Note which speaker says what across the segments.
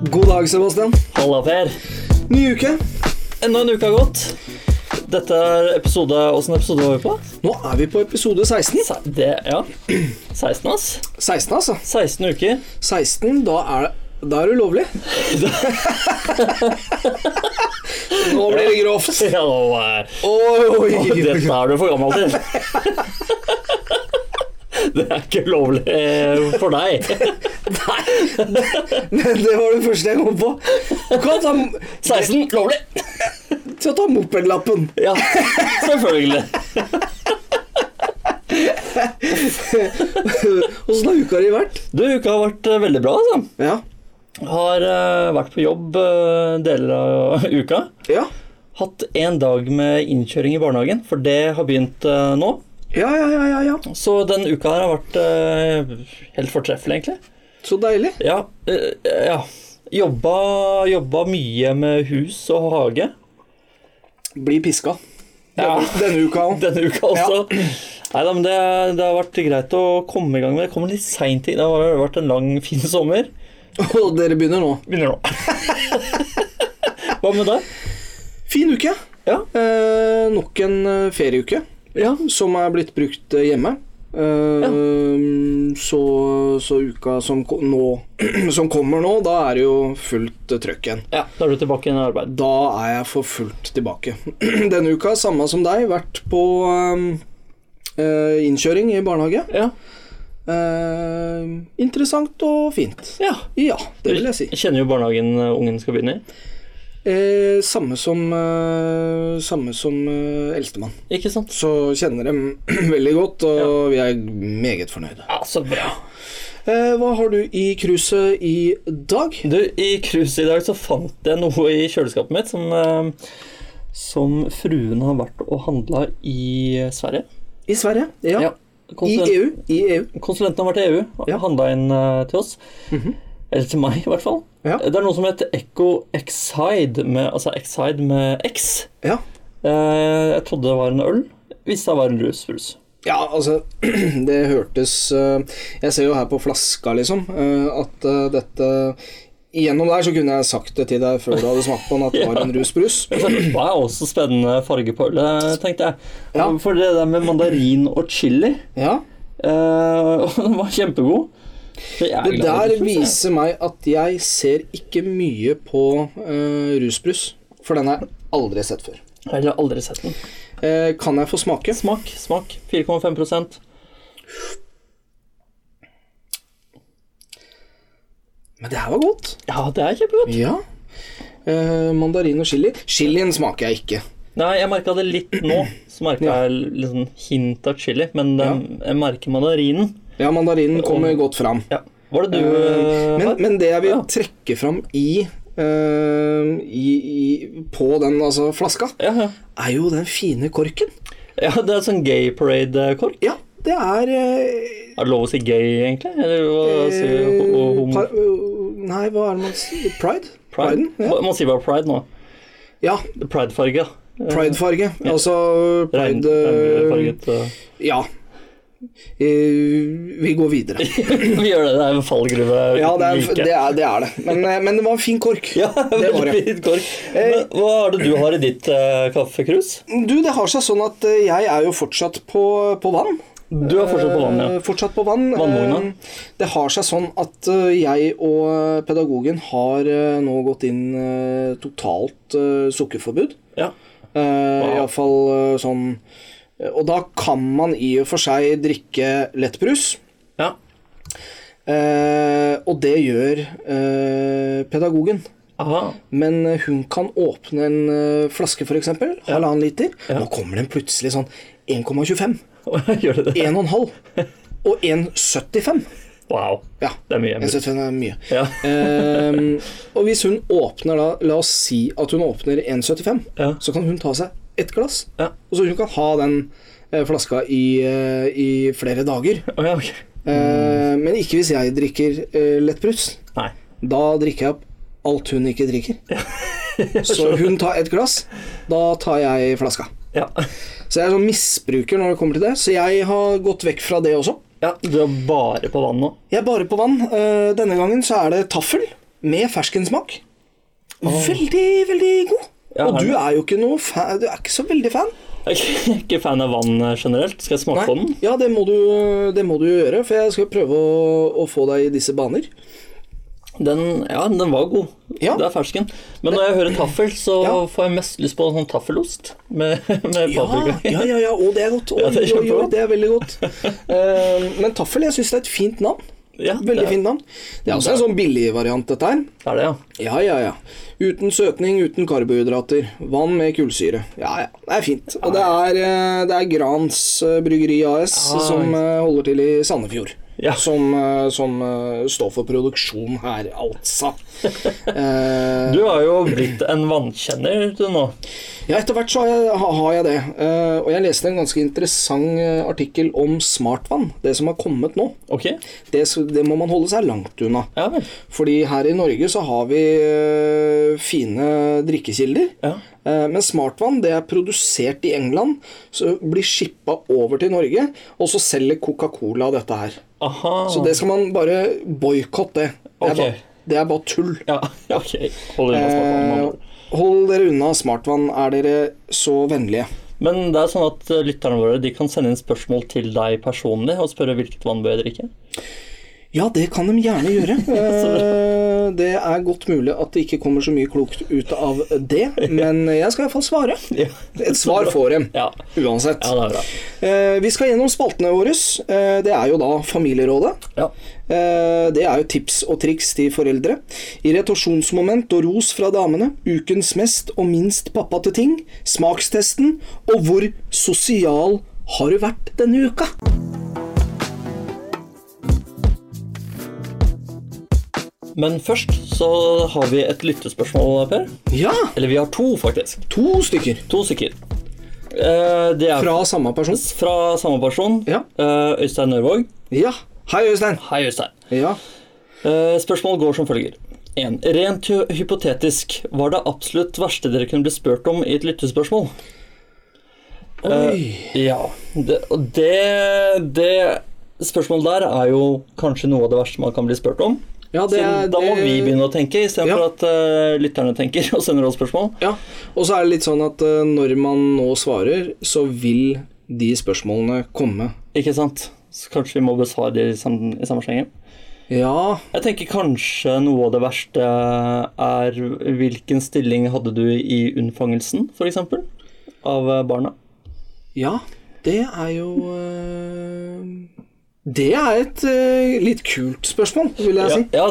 Speaker 1: God dag, Sebastian.
Speaker 2: Halla, Per.
Speaker 1: Ny uke.
Speaker 2: Enda en uke har gått. Dette er episode Åssen episode var vi på?
Speaker 1: Nå er vi på episode 16.
Speaker 2: Se, det, ja. 16, ass.
Speaker 1: 16, altså.
Speaker 2: 16 uker.
Speaker 1: 16, da er, da er det ulovlig. Nå blir det grovt.
Speaker 2: Ja, nå er-
Speaker 1: Oi,
Speaker 2: Å,
Speaker 1: oi,
Speaker 2: Dette
Speaker 1: oi.
Speaker 2: er du for gammel til. Det er ikke lovlig eh, for deg.
Speaker 1: Det var det første jeg kom på. Du kan ta,
Speaker 2: 16 lovlig.
Speaker 1: til å ta mopedlappen.
Speaker 2: Ja, selvfølgelig.
Speaker 1: Åssen har uka di vært?
Speaker 2: Du, uka har vært eh, veldig bra, altså.
Speaker 1: Ja.
Speaker 2: Har eh, vært på jobb eh, deler av uka.
Speaker 1: Ja,
Speaker 2: Hatt en dag med innkjøring i barnehagen, for det har begynt eh, nå.
Speaker 1: ja, ja. ja, ja, ja.
Speaker 2: Så den uka her har vært eh, helt fortreffelig, egentlig.
Speaker 1: Så deilig.
Speaker 2: Ja. eh, ja. Jobba, jobba mye med hus og hage.
Speaker 1: Bli piska.
Speaker 2: Ja.
Speaker 1: Denne, denne uka òg.
Speaker 2: Denne uka også. Nei da, men det, det har vært greit å komme i gang med. Det kommer litt seint inn. Det har vært en lang, fin sommer.
Speaker 1: Og dere begynner nå.
Speaker 2: Begynner nå. Hva med deg?
Speaker 1: Fin uke.
Speaker 2: Ja.
Speaker 1: Eh, nok en eh, ferieuke
Speaker 2: ja.
Speaker 1: som er blitt brukt eh, hjemme. Eh, så, så uka som, ko- nå, som kommer nå, da er det jo fullt eh, trøkk igjen.
Speaker 2: ja. Da er du tilbake igjen i arbeid.
Speaker 1: Da er jeg for fullt tilbake. Denne uka, samme som deg, vært på eh, eh, innkjøring i barnehage.
Speaker 2: Ja.
Speaker 1: Eh, interessant og fint.
Speaker 2: ja.
Speaker 1: Ja, det vil jeg si.
Speaker 2: Jeg kjenner jo barnehagen eh, ungen skal begynne i.
Speaker 1: Eh, samme som, eh, samme som eh, eldstemann.
Speaker 2: Ikke sant?
Speaker 1: Så kjenner dem veldig godt, og vi er meget fornøyde.
Speaker 2: Ja, så bra.
Speaker 1: Eh, hva har du i kruset i dag?
Speaker 2: Du, i cruiset i dag så fant jeg noe i kjøleskapet mitt som, eh, som fruen har vært og handla i Sverige.
Speaker 1: I Sverige? Ja. I
Speaker 2: Konsulent,
Speaker 1: EU? I E EU.
Speaker 2: Konsulenten har vært i EU og
Speaker 1: Ja. Mhm.
Speaker 2: handla inn eh, til oss. Eller til meg, i hvert fall.
Speaker 1: Ja.
Speaker 2: Det er noe som heter Echo Excide, med, altså Excide med X.
Speaker 1: Ja.
Speaker 2: Eh, jeg trodde det var en øl, visste det var en rusbrus.
Speaker 1: Ja, altså Det hørtes eh, Jeg ser jo her på flaska, liksom, eh, at eh, dette Igjennom der så kunne jeg sagt det til deg før du hadde smakt på den, at det var en rusbrus.
Speaker 2: Det var også spennende farge på ølet, tenkte jeg.
Speaker 1: Ja.
Speaker 2: For det der med mandarin og chili
Speaker 1: Ja.
Speaker 2: Eh, og den var kjempegod. Så jeg er
Speaker 1: Det
Speaker 2: glad i
Speaker 1: der
Speaker 2: rusbrus, jeg.
Speaker 1: viser meg at jeg ser ikke mye på eh, rusbrus, for den har jeg aldri sett før.
Speaker 2: Jeg har aldri sett den.
Speaker 1: Eh, kan jeg få smake?
Speaker 2: Smak, smak. 4,5
Speaker 1: Men det her var godt.
Speaker 2: Ja, det er kjempegodt.
Speaker 1: Ja. Eh, mandarin og chili. Chilien smaker jeg ikke.
Speaker 2: Nei, jeg merka det litt nå. Så merka jeg litt sånn hint av chili, men den, jeg merker mandarinen.
Speaker 1: Ja, mandarinen kommer godt fram.
Speaker 2: Ja. Var det du eh,
Speaker 1: Men,
Speaker 2: har?
Speaker 1: men det jeg vil
Speaker 2: Ja.
Speaker 1: trekke fram i, eh, i, i På den altså, flaska,
Speaker 2: Ja, ja.
Speaker 1: er jo den fine korken.
Speaker 2: ja, det er sånn gay parade-kork.
Speaker 1: Ja, det er eh,
Speaker 2: Er det lov å si gay, egentlig? Eller hva sier vi? Ho- ho-
Speaker 1: eh,
Speaker 2: homo...
Speaker 1: par- eh, Nei, hva er det man sier? Pride?
Speaker 2: Pride?
Speaker 1: Priden? Ja.
Speaker 2: Man sier bare pride nå.
Speaker 1: Ja,
Speaker 2: Pride-farge.
Speaker 1: Pride-farge. Altså
Speaker 2: Regn-
Speaker 1: pride eh,
Speaker 2: regnbuefarget, eh.
Speaker 1: Ja. Eh, Vi går videre.
Speaker 2: Vi gjør det. Det er en fallgruve.
Speaker 1: Ja, det er
Speaker 2: uten like.
Speaker 1: det. Er, det, er det. Men, eh, men det var en fin kork.
Speaker 2: Ja,
Speaker 1: det var
Speaker 2: veldig
Speaker 1: det.
Speaker 2: fint kork. Men hva er det du har i ditt uh, kaffekrus?
Speaker 1: Du, det har seg sånn at eh, jeg er jo fortsatt på, på vann.
Speaker 2: Du er fortsatt på vann, ja.
Speaker 1: Eh, Fortsatt på vann.
Speaker 2: Vannvogna.
Speaker 1: Eh, Det har seg sånn at eh, jeg og eh, pedagogen har eh, nå gått inn eh, totalt eh, sukkerforbud. Eh,
Speaker 2: ja.
Speaker 1: Iallfall sånn eh, Og da kan man i og for seg drikke lettbrus.
Speaker 2: ja.
Speaker 1: Eh, og det gjør eh, pedagogen.
Speaker 2: Aha.
Speaker 1: Men eh, hun kan åpne en eh, flaske, f.eks. Halvannen liter. Nå kommer den plutselig sånn 1,25.
Speaker 2: Gjør det det?
Speaker 1: 1,5. Og 1,75.
Speaker 2: Wow.
Speaker 1: Ja.
Speaker 2: Det er mye.
Speaker 1: 1,75 er mye.
Speaker 2: Ja.
Speaker 1: Ehm, og hvis hun åpner da La oss si at hun åpner 1,75,
Speaker 2: Ja.
Speaker 1: så kan hun ta seg ett glass.
Speaker 2: Ja.
Speaker 1: Og så hun kan ha den eh, flaska i, eh, i flere dager.
Speaker 2: Å, ja, ok.
Speaker 1: Eh, men ikke hvis jeg drikker eh, lettbrus.
Speaker 2: Nei.
Speaker 1: Da drikker jeg opp alt hun ikke drikker. Så hun tar et glass, da tar jeg flaska.
Speaker 2: Ja.
Speaker 1: Så jeg er sånn misbruker når det kommer til det, så jeg har gått vekk fra det også.
Speaker 2: ja. Du er bare på vann nå?
Speaker 1: Jeg er bare på vann. Eh, Denne gangen så er det taffel. med ferskensmak. Veldig, veldig god.
Speaker 2: Ja,
Speaker 1: og
Speaker 2: har
Speaker 1: du
Speaker 2: den.
Speaker 1: er jo ikke noe fan, du er ikke så veldig fan.
Speaker 2: Jeg er ikke- jeg er ikke fan av vann eh, generelt. Skal jeg smake på den?
Speaker 1: Ja, det må, du, det må du gjøre, for jeg skal prøve å, å få deg i disse baner.
Speaker 2: Den, ja, den var god.
Speaker 1: Ja.
Speaker 2: Det er fersken. Men når jeg hører taffel, så
Speaker 1: Ja.
Speaker 2: får jeg mest lyst på sånn taffelost med, med
Speaker 1: Ja,
Speaker 2: paprika.
Speaker 1: ja, ja, ja, og det er godt. Oi,
Speaker 2: Ja, det
Speaker 1: oi,
Speaker 2: er
Speaker 1: oi,
Speaker 2: kjempegodt.
Speaker 1: det er veldig godt. Eh, men taffel, jeg syns det er et fint navn.
Speaker 2: Ja,
Speaker 1: Veldig
Speaker 2: det,
Speaker 1: fint navn. Det er også en sånn billig variant, dette her.
Speaker 2: Det er det, ja.
Speaker 1: Ja, ja, ja. Uten søtning, uten karbohydrater. Vann med kullsyre. Ja, ja. Det er fint. Og det er, eh, det er Grans eh, Bryggeri AS
Speaker 2: Ah.
Speaker 1: som eh, holder til i Sandefjord.
Speaker 2: Ja.
Speaker 1: Som, eh, som eh, står for produksjon her, altså. Eh,
Speaker 2: Du har jo blitt en vannkjenner, du nå.
Speaker 1: Ja, etter hvert så har jeg, ha- har jeg det. Eh, og jeg leste en ganske interessant eh, artikkel om smartvann. Det som har kommet nå.
Speaker 2: Ok?
Speaker 1: Det, s- det må man holde seg langt unna.
Speaker 2: Ja vel.
Speaker 1: Fordi her i Norge så har vi eh, fine drikkekilder.
Speaker 2: Ja.
Speaker 1: Eh, Men smartvann det er produsert i England, så blir shippa over til Norge, og så selger Coca-Cola dette her.
Speaker 2: Aha.
Speaker 1: Så det skal man bare boikotte. Det, er
Speaker 2: Ok.
Speaker 1: bare- det er bare tull.
Speaker 2: Ja, ok. Hold unna smaken.
Speaker 1: Eh, Hold dere unna smartvann, er dere så vennlige.
Speaker 2: Men det er sånn at eh, lytterne våre de kan sende inn spørsmål til deg personlig og spørre hvilket vann bør jeg drikke.
Speaker 1: Ja, det kan de gjerne gjøre. Eh, Det er godt mulig at det ikke kommer så mye klokt ut av det, men jeg skal iallfall svare.
Speaker 2: Ja.
Speaker 1: Et svar får dem,
Speaker 2: Ja.
Speaker 1: uansett.
Speaker 2: ja, det er bra.
Speaker 1: Eh, Vi skal gjennom spaltene våre. Eh, Det er jo da Familierådet.
Speaker 2: Ja.
Speaker 1: Eh, Det er jo tips og triks til foreldre. Irritasjonsmoment og ros fra damene. Ukens mest og minst pappa til ting. Smakstesten. Og hvor sosial har du vært denne uka?
Speaker 2: Men først så har vi et lyttespørsmål, Per.
Speaker 1: Ja,
Speaker 2: Eller vi har to, faktisk.
Speaker 1: to stykker.
Speaker 2: To stykker. Eh, Det er fra,
Speaker 1: Fra samme person.
Speaker 2: samme person.
Speaker 1: Ja.
Speaker 2: Eh, Øystein Nørvåg.
Speaker 1: Ja. Hei, Øystein.
Speaker 2: Hei, Øystein.
Speaker 1: Ja.
Speaker 2: Eh, Spørsmålet går som følger. 1. Rent hy- hypotetisk, var det absolutt verste dere kunne bli spurt om i et lyttespørsmål?
Speaker 1: Oi.
Speaker 2: Ja. Det, og det, det spørsmålet der er jo kanskje noe av det verste man kan bli spurt om.
Speaker 1: Ja, det er,
Speaker 2: Siden da må
Speaker 1: det-
Speaker 2: vi begynne å tenke, istedenfor
Speaker 1: Ja.
Speaker 2: for at eh, lytterne tenker og sender oss spørsmål.
Speaker 1: Ja. Og så er det litt sånn at eh, når man nå svarer, så vil de spørsmålene komme.
Speaker 2: Ikke sant? Så kanskje vi må besvare de i sam- i samme slengen.
Speaker 1: Ja,
Speaker 2: Jeg tenker kanskje noe av det verste er hvilken stilling hadde du i unnfangelsen, f.eks. Av eh, barna.
Speaker 1: ja. Det er jo eh, Det er et eh, litt kult spørsmål, vil jeg
Speaker 2: Ja,
Speaker 1: si.
Speaker 2: ja,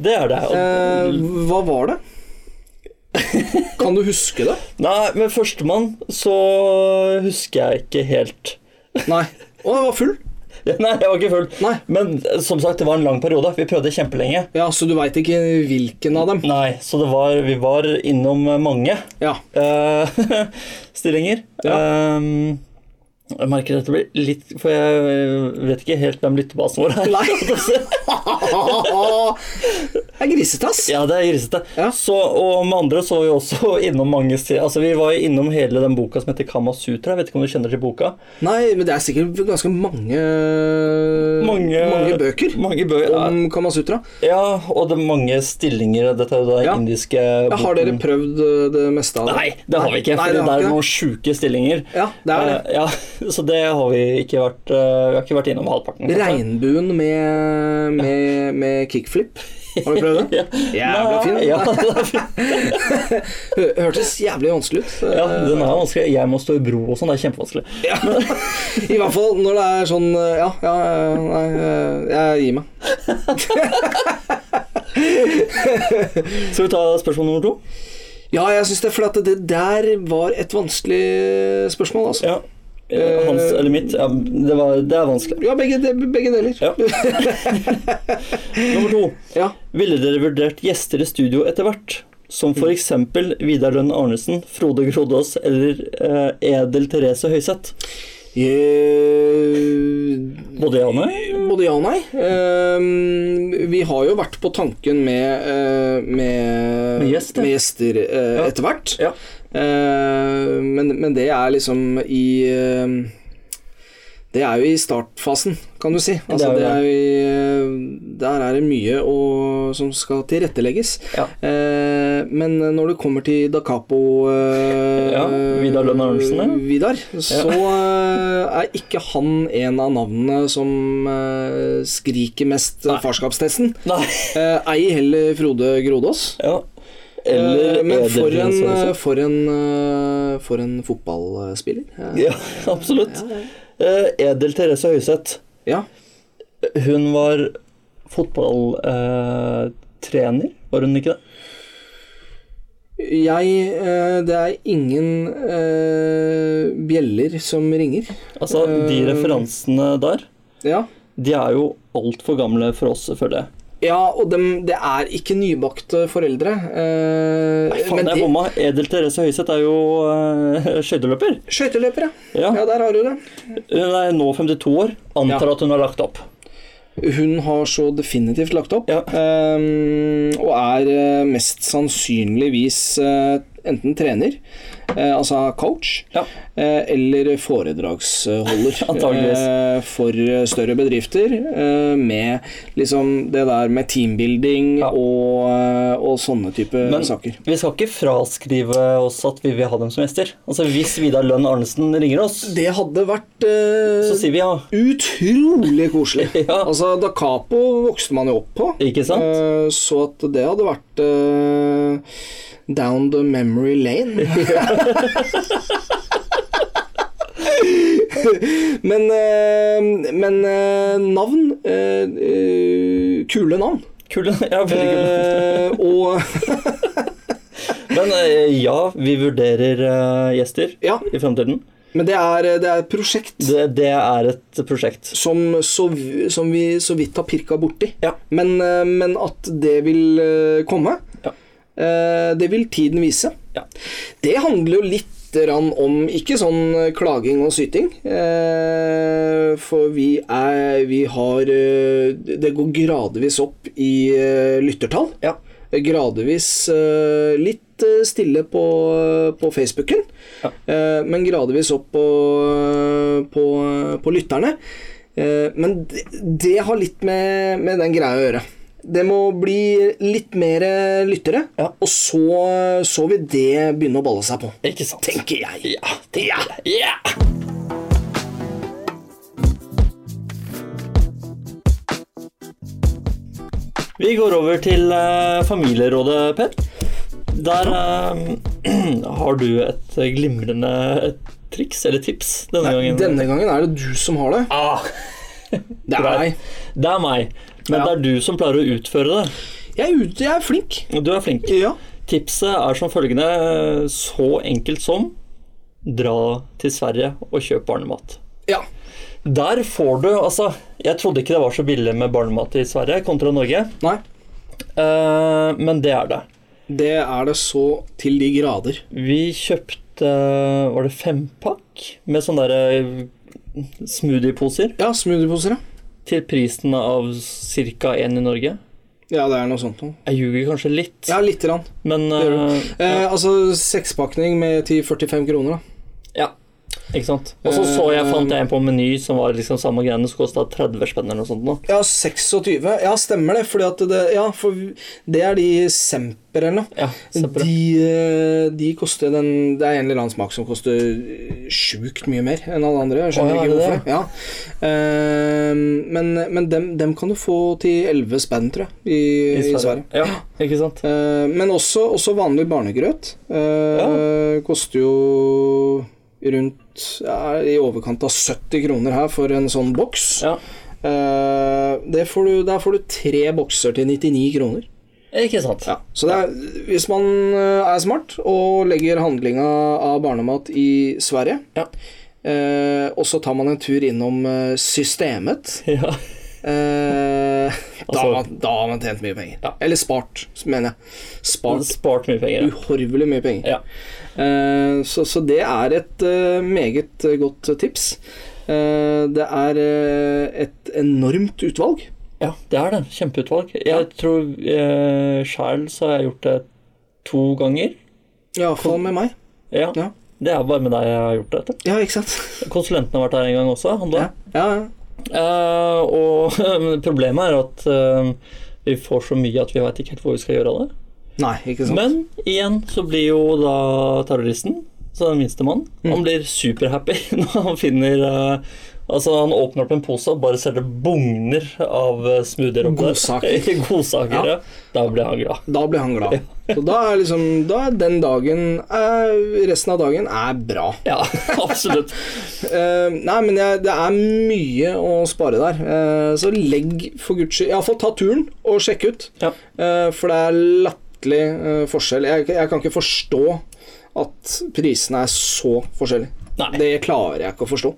Speaker 2: det er det.
Speaker 1: Eh, hva var det? Kan du huske det?
Speaker 2: Nei, men førstemann så husker jeg ikke helt.
Speaker 1: Nei. Å, jeg var full?
Speaker 2: Nei, jeg var ikke full.
Speaker 1: Nei.
Speaker 2: Men eh, som sagt, det var en lang periode. Vi prøvde kjempelenge.
Speaker 1: Ja, så du veit ikke hvilken av dem?
Speaker 2: Nei, så det var, vi var innom eh, mange
Speaker 1: Ja.
Speaker 2: eh, stillinger. Ehm, jeg merker dette blir litt For jeg eh, vet ikke helt hvem lyttebasen vår er.
Speaker 1: Nei. Det er grisete, ass.
Speaker 2: Ja, det er grisete.
Speaker 1: Ja.
Speaker 2: Så, og med andre så var vi også innom mange steder. Altså, vi var innom hele den boka som heter Kama Sutra. Jeg vet ikke om du kjenner til boka?
Speaker 1: Nei, men det er sikkert ganske mange eh, mange bøker
Speaker 2: Mange bø ja.
Speaker 1: om Kamasutra.
Speaker 2: ja, og det er mange stillinger. Dette er jo da
Speaker 1: Ja.
Speaker 2: indiske
Speaker 1: Ja, har dere prøvd eh, det meste av det?
Speaker 2: Nei, det har vi ikke.
Speaker 1: Nei,
Speaker 2: For
Speaker 1: det
Speaker 2: det,
Speaker 1: har
Speaker 2: er
Speaker 1: vi ikke
Speaker 2: noen sjuke stillinger.
Speaker 1: Ja, det er det.
Speaker 2: Eh, ja, så det har vi ikke vært eh, Vi har ikke vært innom halvparten. kanskje.
Speaker 1: Regnbuen med, med, med kickflip. Har du prøvd det?
Speaker 2: Ja.
Speaker 1: Jævla fin.
Speaker 2: Nei, Ja, det er fin.
Speaker 1: Hø- Hørtes jævlig vanskelig ut.
Speaker 2: ja, den er vanskelig. Jeg må stå i bro og sånn. Det er kjempevanskelig.
Speaker 1: Ja. I hvert fall når det er sånn eh, Ja, ja, eh, nei, eh, jeg gir meg.
Speaker 2: Skal vi ta spørsmål nummer to?
Speaker 1: Ja, jeg syns det, for at det der var et vanskelig spørsmål, altså.
Speaker 2: Ja. Eh, Hans eller mitt. Ja, det, var, det er vanskelig.
Speaker 1: Ja, begge, de- begge deler.
Speaker 2: Ja. Nummer to.
Speaker 1: Ja.
Speaker 2: Ville dere vurdert gjester i studio etter hvert? Som
Speaker 1: Mm.
Speaker 2: f.eks. Vidar Lønn Arnesen, Frode Grodås eller eh, Edel Therese Høiseth?
Speaker 1: Eh,
Speaker 2: Både ja og nei?
Speaker 1: Både ja og nei. Ehm, vi har jo vært på tanken med, eh, med,
Speaker 2: Med gjester.
Speaker 1: med gjester eh,
Speaker 2: Ja.
Speaker 1: etter hvert.
Speaker 2: Ja.
Speaker 1: Eh, Ehm, men, men det er liksom i ehm, Det er jo i startfasen, kan du si. Altså,
Speaker 2: Det
Speaker 1: det
Speaker 2: er
Speaker 1: er jo i, der er det mye å, som skal tilrettelegges.
Speaker 2: Ja.
Speaker 1: Eh, men når det kommer til Da Capo eh,
Speaker 2: Ja, Vidar Lønn Arnesen, ja.
Speaker 1: Vidar, så eh, er ikke han en av navnene som eh, skriker mest
Speaker 2: Nei.
Speaker 1: farskapstesten.
Speaker 2: Nei.
Speaker 1: Eh, ei heller Frode Grodås.
Speaker 2: Ja.
Speaker 1: Eh,
Speaker 2: Eller
Speaker 1: men for en,
Speaker 2: Edel Teresa
Speaker 1: eh,
Speaker 2: også.
Speaker 1: for, en, eh, for en fotballspiller. Eh,
Speaker 2: Ja, absolutt. Eh, Edel Therese Høiseth.
Speaker 1: ja.
Speaker 2: Hun var fotballtrener, var hun ikke det?
Speaker 1: Jeg eh, Det er ingen eh, bjeller som ringer.
Speaker 2: Altså, de
Speaker 1: Eh,
Speaker 2: referansene der,
Speaker 1: Ja.
Speaker 2: de er jo altfor gamle for oss, føler jeg.
Speaker 1: Ja, og dem, det er ikke nybakte foreldre. eh,
Speaker 2: Nei, faen,
Speaker 1: men
Speaker 2: jeg
Speaker 1: de-
Speaker 2: bomma. Edel Therese Høiseth er jo eh, skøyteløper.
Speaker 1: skøyteløpere.
Speaker 2: Ja.
Speaker 1: Ja, der har du det.
Speaker 2: Hun er nå 52 år. Antar at hun har lagt opp.
Speaker 1: Hun har så definitivt lagt opp,
Speaker 2: Ja.
Speaker 1: ehm, og er eh, mest sannsynligvis eh, enten trener, eh, altså coach,
Speaker 2: Ja.
Speaker 1: eh, eller foredragsholder.
Speaker 2: Antageligvis.
Speaker 1: eh, for eh, større bedrifter, eh, med liksom det der med teambuilding
Speaker 2: Ja.
Speaker 1: og, eh, og sånne type
Speaker 2: Men
Speaker 1: saker.
Speaker 2: vi skal ikke fraskrive oss at vi vil ha dem som gjester. Altså, Hvis Vidar Lønn Arnesen ringer oss,
Speaker 1: Det hadde vært eh,
Speaker 2: så sier vi ja.
Speaker 1: utrolig koselig.
Speaker 2: Ja.
Speaker 1: Altså, Da Capo vokste man jo opp på.
Speaker 2: Ikke sant?
Speaker 1: Eh, Så at det hadde vært eh, down the memory lane. men eh, men eh, navn eh, eh, Kule navn.
Speaker 2: Kule. Ja, veldig kule.
Speaker 1: Eh, og
Speaker 2: Men eh, ja, vi vurderer eh, gjester
Speaker 1: Ja.
Speaker 2: i fremtiden.
Speaker 1: Men det er, det er et prosjekt
Speaker 2: Det, det er et prosjekt.
Speaker 1: som, så, vi- som vi så vidt har pirka borti.
Speaker 2: Ja.
Speaker 1: Men, eh, men at det vil eh, komme,
Speaker 2: Ja.
Speaker 1: eh, det vil tiden vise.
Speaker 2: Ja.
Speaker 1: Det handler jo litt grann om ikke sånn eh, klaging og syting, eh, for vi er Vi har eh, Det går gradvis opp i eh, lyttertall.
Speaker 2: Ja.
Speaker 1: Gradvis eh, litt eh, stille på, eh, på Facebooken,
Speaker 2: Ja.
Speaker 1: eh, men gradvis opp på, eh, på, på lytterne. Eh, Men det, det har litt med, med den greia å gjøre. Det må bli litt mer lyttere,
Speaker 2: Ja.
Speaker 1: og så, så vil det begynne å balle seg på.
Speaker 2: Ikke sant?
Speaker 1: Tenker jeg.
Speaker 2: Ja.
Speaker 1: Ja.
Speaker 2: Ja! Vi går over til eh, familierådet, Per. Der eh, har du et glimrende triks, eller tips, denne gangen.
Speaker 1: Denne gangen er det du som har det.
Speaker 2: Ah,
Speaker 1: Det er
Speaker 2: Greit.
Speaker 1: deg.
Speaker 2: det er meg, men
Speaker 1: Ja.
Speaker 2: det er du som pleier å utføre det.
Speaker 1: Jeg er ute, jeg er flink.
Speaker 2: Du er flink.
Speaker 1: Ja.
Speaker 2: Tipset er som følgende, eh, så enkelt som dra til Sverige og kjøp barnemat.
Speaker 1: ja.
Speaker 2: Der får du Altså, jeg trodde ikke det var så billig med barnemat i Sverige kontra Norge,
Speaker 1: Nei.
Speaker 2: eh, men det er det.
Speaker 1: Det er det så til de grader.
Speaker 2: Vi kjøpte Var det fempakk med sånne derre smoothieposer
Speaker 1: Ja, smoothieposer, ja.
Speaker 2: til prisen av ca. én i Norge.
Speaker 1: Ja, det er noe sånt noe.
Speaker 2: Jeg ljuger kanskje litt,
Speaker 1: Ja, lite grann.
Speaker 2: men
Speaker 1: det gjør
Speaker 2: eh,
Speaker 1: Eh, altså sekspakning med til 45 kroner, da.
Speaker 2: Ja. Ikke sant? Og så så jeg fant jeg en på Meny som var liksom samme greiene, som kosta 30 spenn eller noe sånt. nå.
Speaker 1: Ja, 26. Ja, stemmer det. Fordi at det, ja, for det er de Semper eller noe.
Speaker 2: Ja,
Speaker 1: De,
Speaker 2: kjempebra.
Speaker 1: eh, de koster den Det er en eller annen smak som koster eh, sjukt mye mer enn alle andre. Jeg skjønner
Speaker 2: Å, ja,
Speaker 1: ikke
Speaker 2: er
Speaker 1: hvorfor.
Speaker 2: det
Speaker 1: Ja. Eh, men men dem, dem kan du få til 11 spenn, tror jeg, i, i Sverige.
Speaker 2: Ja, ikke sant?
Speaker 1: Eh, men også, også vanlig barnegrøt. eh, Koster jo rundt ja, i overkant av 70 kroner her for en sånn boks.
Speaker 2: Ja.
Speaker 1: Eh, det får du, der får du tre bokser til 99 kroner.
Speaker 2: Ikke sant?
Speaker 1: Så det er, hvis man eh, er smart og legger handlinga av barnemat i Sverige,
Speaker 2: Ja.
Speaker 1: eh, og så tar man en tur innom eh, systemet,
Speaker 2: Ja.
Speaker 1: eh, da, har
Speaker 2: Altså-
Speaker 1: man, da har man tjent mye penger.
Speaker 2: Ja.
Speaker 1: Eller spart, mener jeg. Spart
Speaker 2: Spart mye penger. ja.
Speaker 1: uhorvelig mye penger.
Speaker 2: Ja.
Speaker 1: Eh, så, så det er et eh, meget godt tips. Eh, det er eh, et enormt utvalg.
Speaker 2: ja, det er det. Kjempeutvalg. Jeg tror eh, sjæl så har jeg gjort det to ganger.
Speaker 1: Iallfall med meg.
Speaker 2: Ja.
Speaker 1: Ja.
Speaker 2: Det er bare med deg jeg har gjort dette.
Speaker 1: Ja, ikke sant?
Speaker 2: Konsulenten har vært her en gang også. Han da.
Speaker 1: Ja, ja, ja.
Speaker 2: Eh, og men problemet er at eh, vi får så mye at vi veit ikke helt hvor vi skal gjøre av det.
Speaker 1: Nei, ikke sant?
Speaker 2: Men igjen så blir jo da terroristen, så den minste mannen,
Speaker 1: Mm.
Speaker 2: han blir superhappy når han finner eh, Altså, han åpner opp en pose og bare ser det bugner av eh, smoothier opp
Speaker 1: Godsaker.
Speaker 2: Godsaker, ja.
Speaker 1: Ja.
Speaker 2: Da blir han glad.
Speaker 1: Da blir han glad. Så da er liksom Da er den dagen eh, Resten av dagen er bra.
Speaker 2: Ja, absolutt.
Speaker 1: Eh, nei, men jeg, det er mye å spare der. Eh, så legg for guds skyld Iallfall ta turen og sjekk ut.
Speaker 2: Ja.
Speaker 1: Eh, for det er latterlig eh, forskjell. Jeg, jeg kan ikke forstå at prisene er så forskjellige.
Speaker 2: Nei.
Speaker 1: Det klarer jeg ikke å forstå.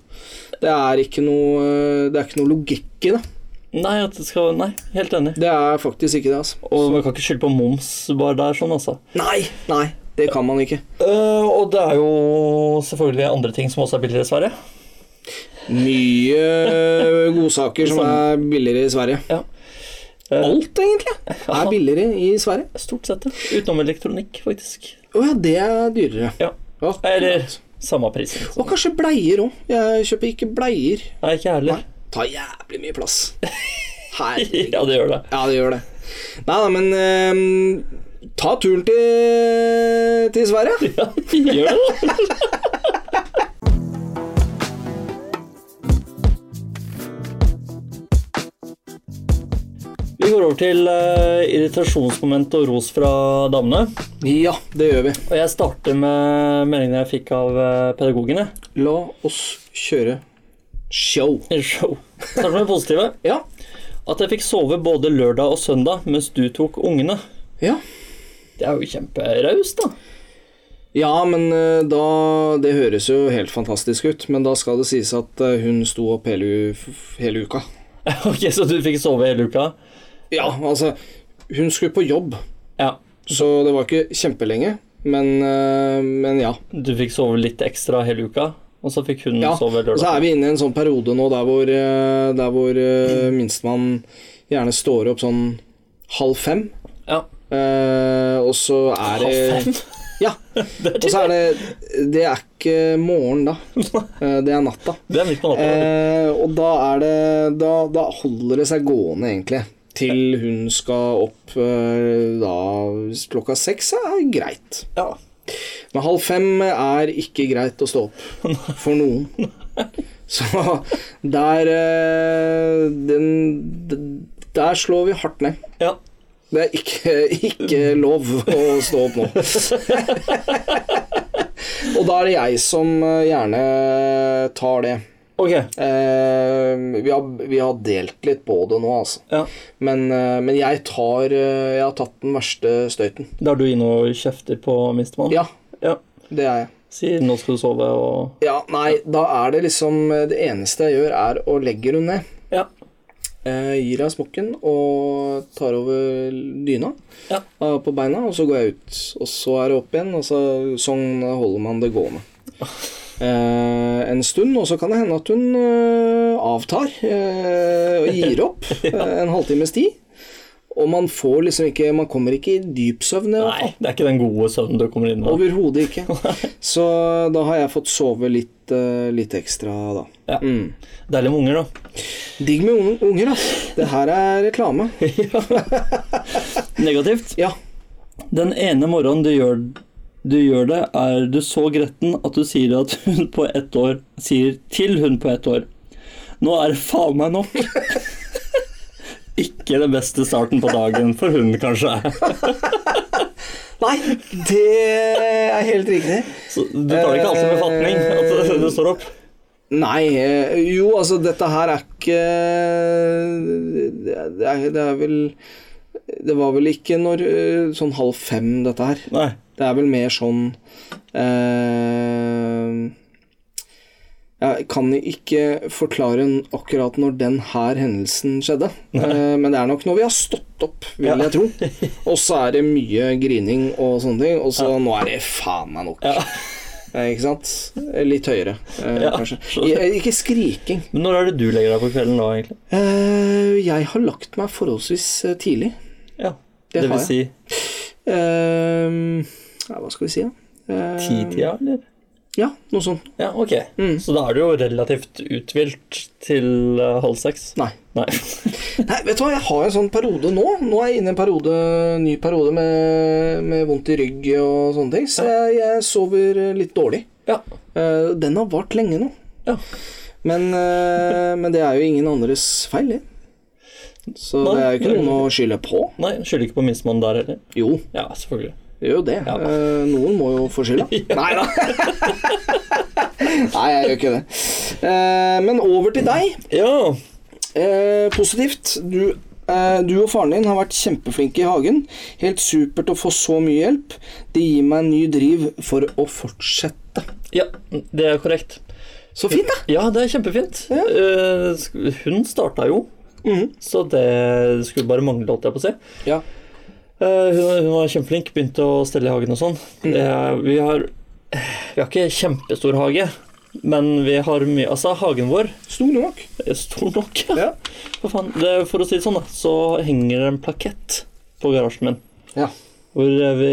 Speaker 1: Det er ikke noe, eh, det er ikke noe logikk i det.
Speaker 2: Nei, at det skal, nei, helt enig.
Speaker 1: Det er faktisk ikke det, altså.
Speaker 2: Og man kan ikke skylde på moms bare der, sånn, altså.
Speaker 1: Nei, nei, det kan man ikke.
Speaker 2: Eh, og det er jo selvfølgelig andre ting som også er billigere i Sverige.
Speaker 1: Mye eh, godsaker
Speaker 2: Sånn.
Speaker 1: som er billigere i Sverige.
Speaker 2: Ja. Eh,
Speaker 1: Alt, egentlig, er billigere i Sverige.
Speaker 2: Stort sett, ja. Utenom elektronikk, faktisk.
Speaker 1: Å ja, det er dyrere.
Speaker 2: Ja.
Speaker 1: Ja.
Speaker 2: Eller samme prisen.
Speaker 1: Og kanskje bleier òg. Jeg kjøper ikke bleier.
Speaker 2: Nei, ikke jeg heller.
Speaker 1: Nei, tar jævlig mye plass. Herregud.
Speaker 2: Ja, det gjør det.
Speaker 1: Ja, det gjør det. Nei da, men ehm, ta turen til, til Sverige.
Speaker 2: Ja, gjør det. Vi går over til eh, irritasjonsmoment og ros fra damene.
Speaker 1: Ja, det gjør vi.
Speaker 2: Og jeg starter med meldingen jeg fikk av eh, pedagogen. jeg.
Speaker 1: La oss kjøre show.
Speaker 2: I Show. Starter med det positive.
Speaker 1: Ja.
Speaker 2: At jeg fikk sove både lørdag og søndag mens du tok ungene.
Speaker 1: Ja,
Speaker 2: Det er jo kjemperaust, da.
Speaker 1: ja men eh, da Det høres jo helt fantastisk ut, men da skal det sies at eh, hun sto opp hele, u- f- hele uka.
Speaker 2: Ok, Så du fikk sove hele uka?
Speaker 1: Ja, altså Hun skulle på jobb,
Speaker 2: Ja.
Speaker 1: så det var ikke kjempelenge. Men, eh, men ja.
Speaker 2: Du fikk sove litt ekstra hele uka, og så fikk hun
Speaker 1: Ja,
Speaker 2: sove
Speaker 1: Og så
Speaker 2: lørdag?
Speaker 1: er vi inne i en sånn periode nå der hvor, eh, der hvor eh, minstemann gjerne står opp sånn halv fem.
Speaker 2: Ja.
Speaker 1: Eh, og så er det
Speaker 2: Halv fem?
Speaker 1: Ja. Og så er det Det er ikke morgen, da. Eh, det er natta.
Speaker 2: Det er midt på natta.
Speaker 1: Eh, og da er det da, da holder det seg gående, egentlig. Til hun skal opp eh, da klokka seks er greit.
Speaker 2: Ja.
Speaker 1: Men halv fem er ikke greit å stå opp for noen. Så der eh, den, d- Der slår vi hardt ned.
Speaker 2: ja.
Speaker 1: Det er ikke, ikke lov å stå opp nå. Og da er det jeg som eh, gjerne tar det.
Speaker 2: Ok.
Speaker 1: Eh, vi, har, vi har delt litt på det nå, altså.
Speaker 2: Ja.
Speaker 1: Men, eh, men jeg tar eh, Jeg har tatt den verste støyten.
Speaker 2: Da er du inne og kjefter på minstemann?
Speaker 1: Ja,
Speaker 2: ja.
Speaker 1: det er jeg.
Speaker 2: Sier 'nå skal du sove' og
Speaker 1: Ja, nei, da er det liksom Det eneste jeg gjør, er å legge henne ned.
Speaker 2: Ja.
Speaker 1: Eh, gir henne smokken og tar over dyna
Speaker 2: Ja.
Speaker 1: eh, på beina, og så går jeg ut. Og så er det opp igjen, og så, sånn holder man det gående. Eh, en stund, og så kan det hende at hun eh, avtar eh, og gir opp eh, en halvtimes tid. Og man får liksom ikke Man kommer ikke i dyp søvn. i hvert
Speaker 2: Nei, det er ikke den gode søvnen du kommer inn med.
Speaker 1: Overhodet ikke. Så da har jeg fått sove litt, eh, litt ekstra, da.
Speaker 2: Ja.
Speaker 1: Mm.
Speaker 2: Deilig med unger, da.
Speaker 1: Digg med un- unger, ass. Det her er reklame.
Speaker 2: Negativt.
Speaker 1: Ja.
Speaker 2: Den ene morgenen du gjør, du gjør det, er du så gretten at du sier at hun på ett år sier til hun på ett år Nå er det faen meg nok. Ikke den beste starten på dagen for hun, kanskje.
Speaker 1: Nei, det er helt riktig.
Speaker 2: Så du tar det ikke alltid med fatning at du står opp.
Speaker 1: Nei, eh, jo, altså dette her er ikke Det er, det er vel Det var vel ikke når eh, Sånn halv fem, dette her.
Speaker 2: Nei.
Speaker 1: Det er vel mer sånn eh, Jeg kan ikke forklare n- akkurat når den her hendelsen skjedde, eh, men det er nok når vi har stått opp, vil jeg tro. Og så er det mye grining og sånne ting, og så nå er det faen meg nok.
Speaker 2: Ja.
Speaker 1: Eh, ikke sant? Litt høyere, eh,
Speaker 2: Ja,
Speaker 1: kanskje.
Speaker 2: skjønner.
Speaker 1: I- eh, Ikke skriking.
Speaker 2: Men når er det du legger deg på kvelden da, egentlig?
Speaker 1: Eh, jeg har lagt meg forholdsvis eh, tidlig.
Speaker 2: Ja.
Speaker 1: Det
Speaker 2: Det,
Speaker 1: har
Speaker 2: vil si
Speaker 1: Eh, ja, hva skal vi si, da? Eh,
Speaker 2: titida, eller?
Speaker 1: Ja, noe sånt.
Speaker 2: Eh, Ja, ok. Så da er det jo relativt uthvilt til eh, halv seks.
Speaker 1: Nei.
Speaker 2: Nei.
Speaker 1: Nei, vet du hva, jeg har en sånn periode nå. Nå er jeg inne i en periode, ny periode med, med vondt i rygg og sånne ting, så jeg, jeg sover litt dårlig.
Speaker 2: ja.
Speaker 1: Eh, den har vart lenge nå.
Speaker 2: ja.
Speaker 1: Men, eh, men det er jo ingen andres feil, det. Så
Speaker 2: Nei,
Speaker 1: det er jo
Speaker 2: det
Speaker 1: ikke
Speaker 2: er
Speaker 1: noen å skylde på.
Speaker 2: Nei, skylder ikke på minstemann der heller.
Speaker 1: Jo,
Speaker 2: Ja, selvfølgelig.
Speaker 1: det gjør jo det. Eh, noen må jo få skylda. Nei da. Nei, jeg gjør ikke det. Eh, men over til deg.
Speaker 2: Ja.
Speaker 1: Eh, positivt. Du, eh, du og faren din har vært kjempeflinke i hagen. Helt supert å få så mye hjelp. Det gir meg en ny driv for å fortsette.
Speaker 2: ja, det er korrekt.
Speaker 1: Så fint, da!
Speaker 2: Ja, det er kjempefint. Eh, sk- hun starta jo, så det skulle bare mangle, holdt jeg på å si.
Speaker 1: Ja.
Speaker 2: Eh, hun, hun var kjempeflink, begynte å stelle i hagen og sånn.
Speaker 1: Mm.
Speaker 2: Eh, vi, har, vi har ikke kjempestor hage, men vi har mye Altså, hagen vår
Speaker 1: Stor nok.
Speaker 2: er stor nok.
Speaker 1: Ja.
Speaker 2: For, faen, det, for å si det sånn, da, så henger det en plakett på garasjen min.
Speaker 1: Ja.
Speaker 2: Hvor eh, vi,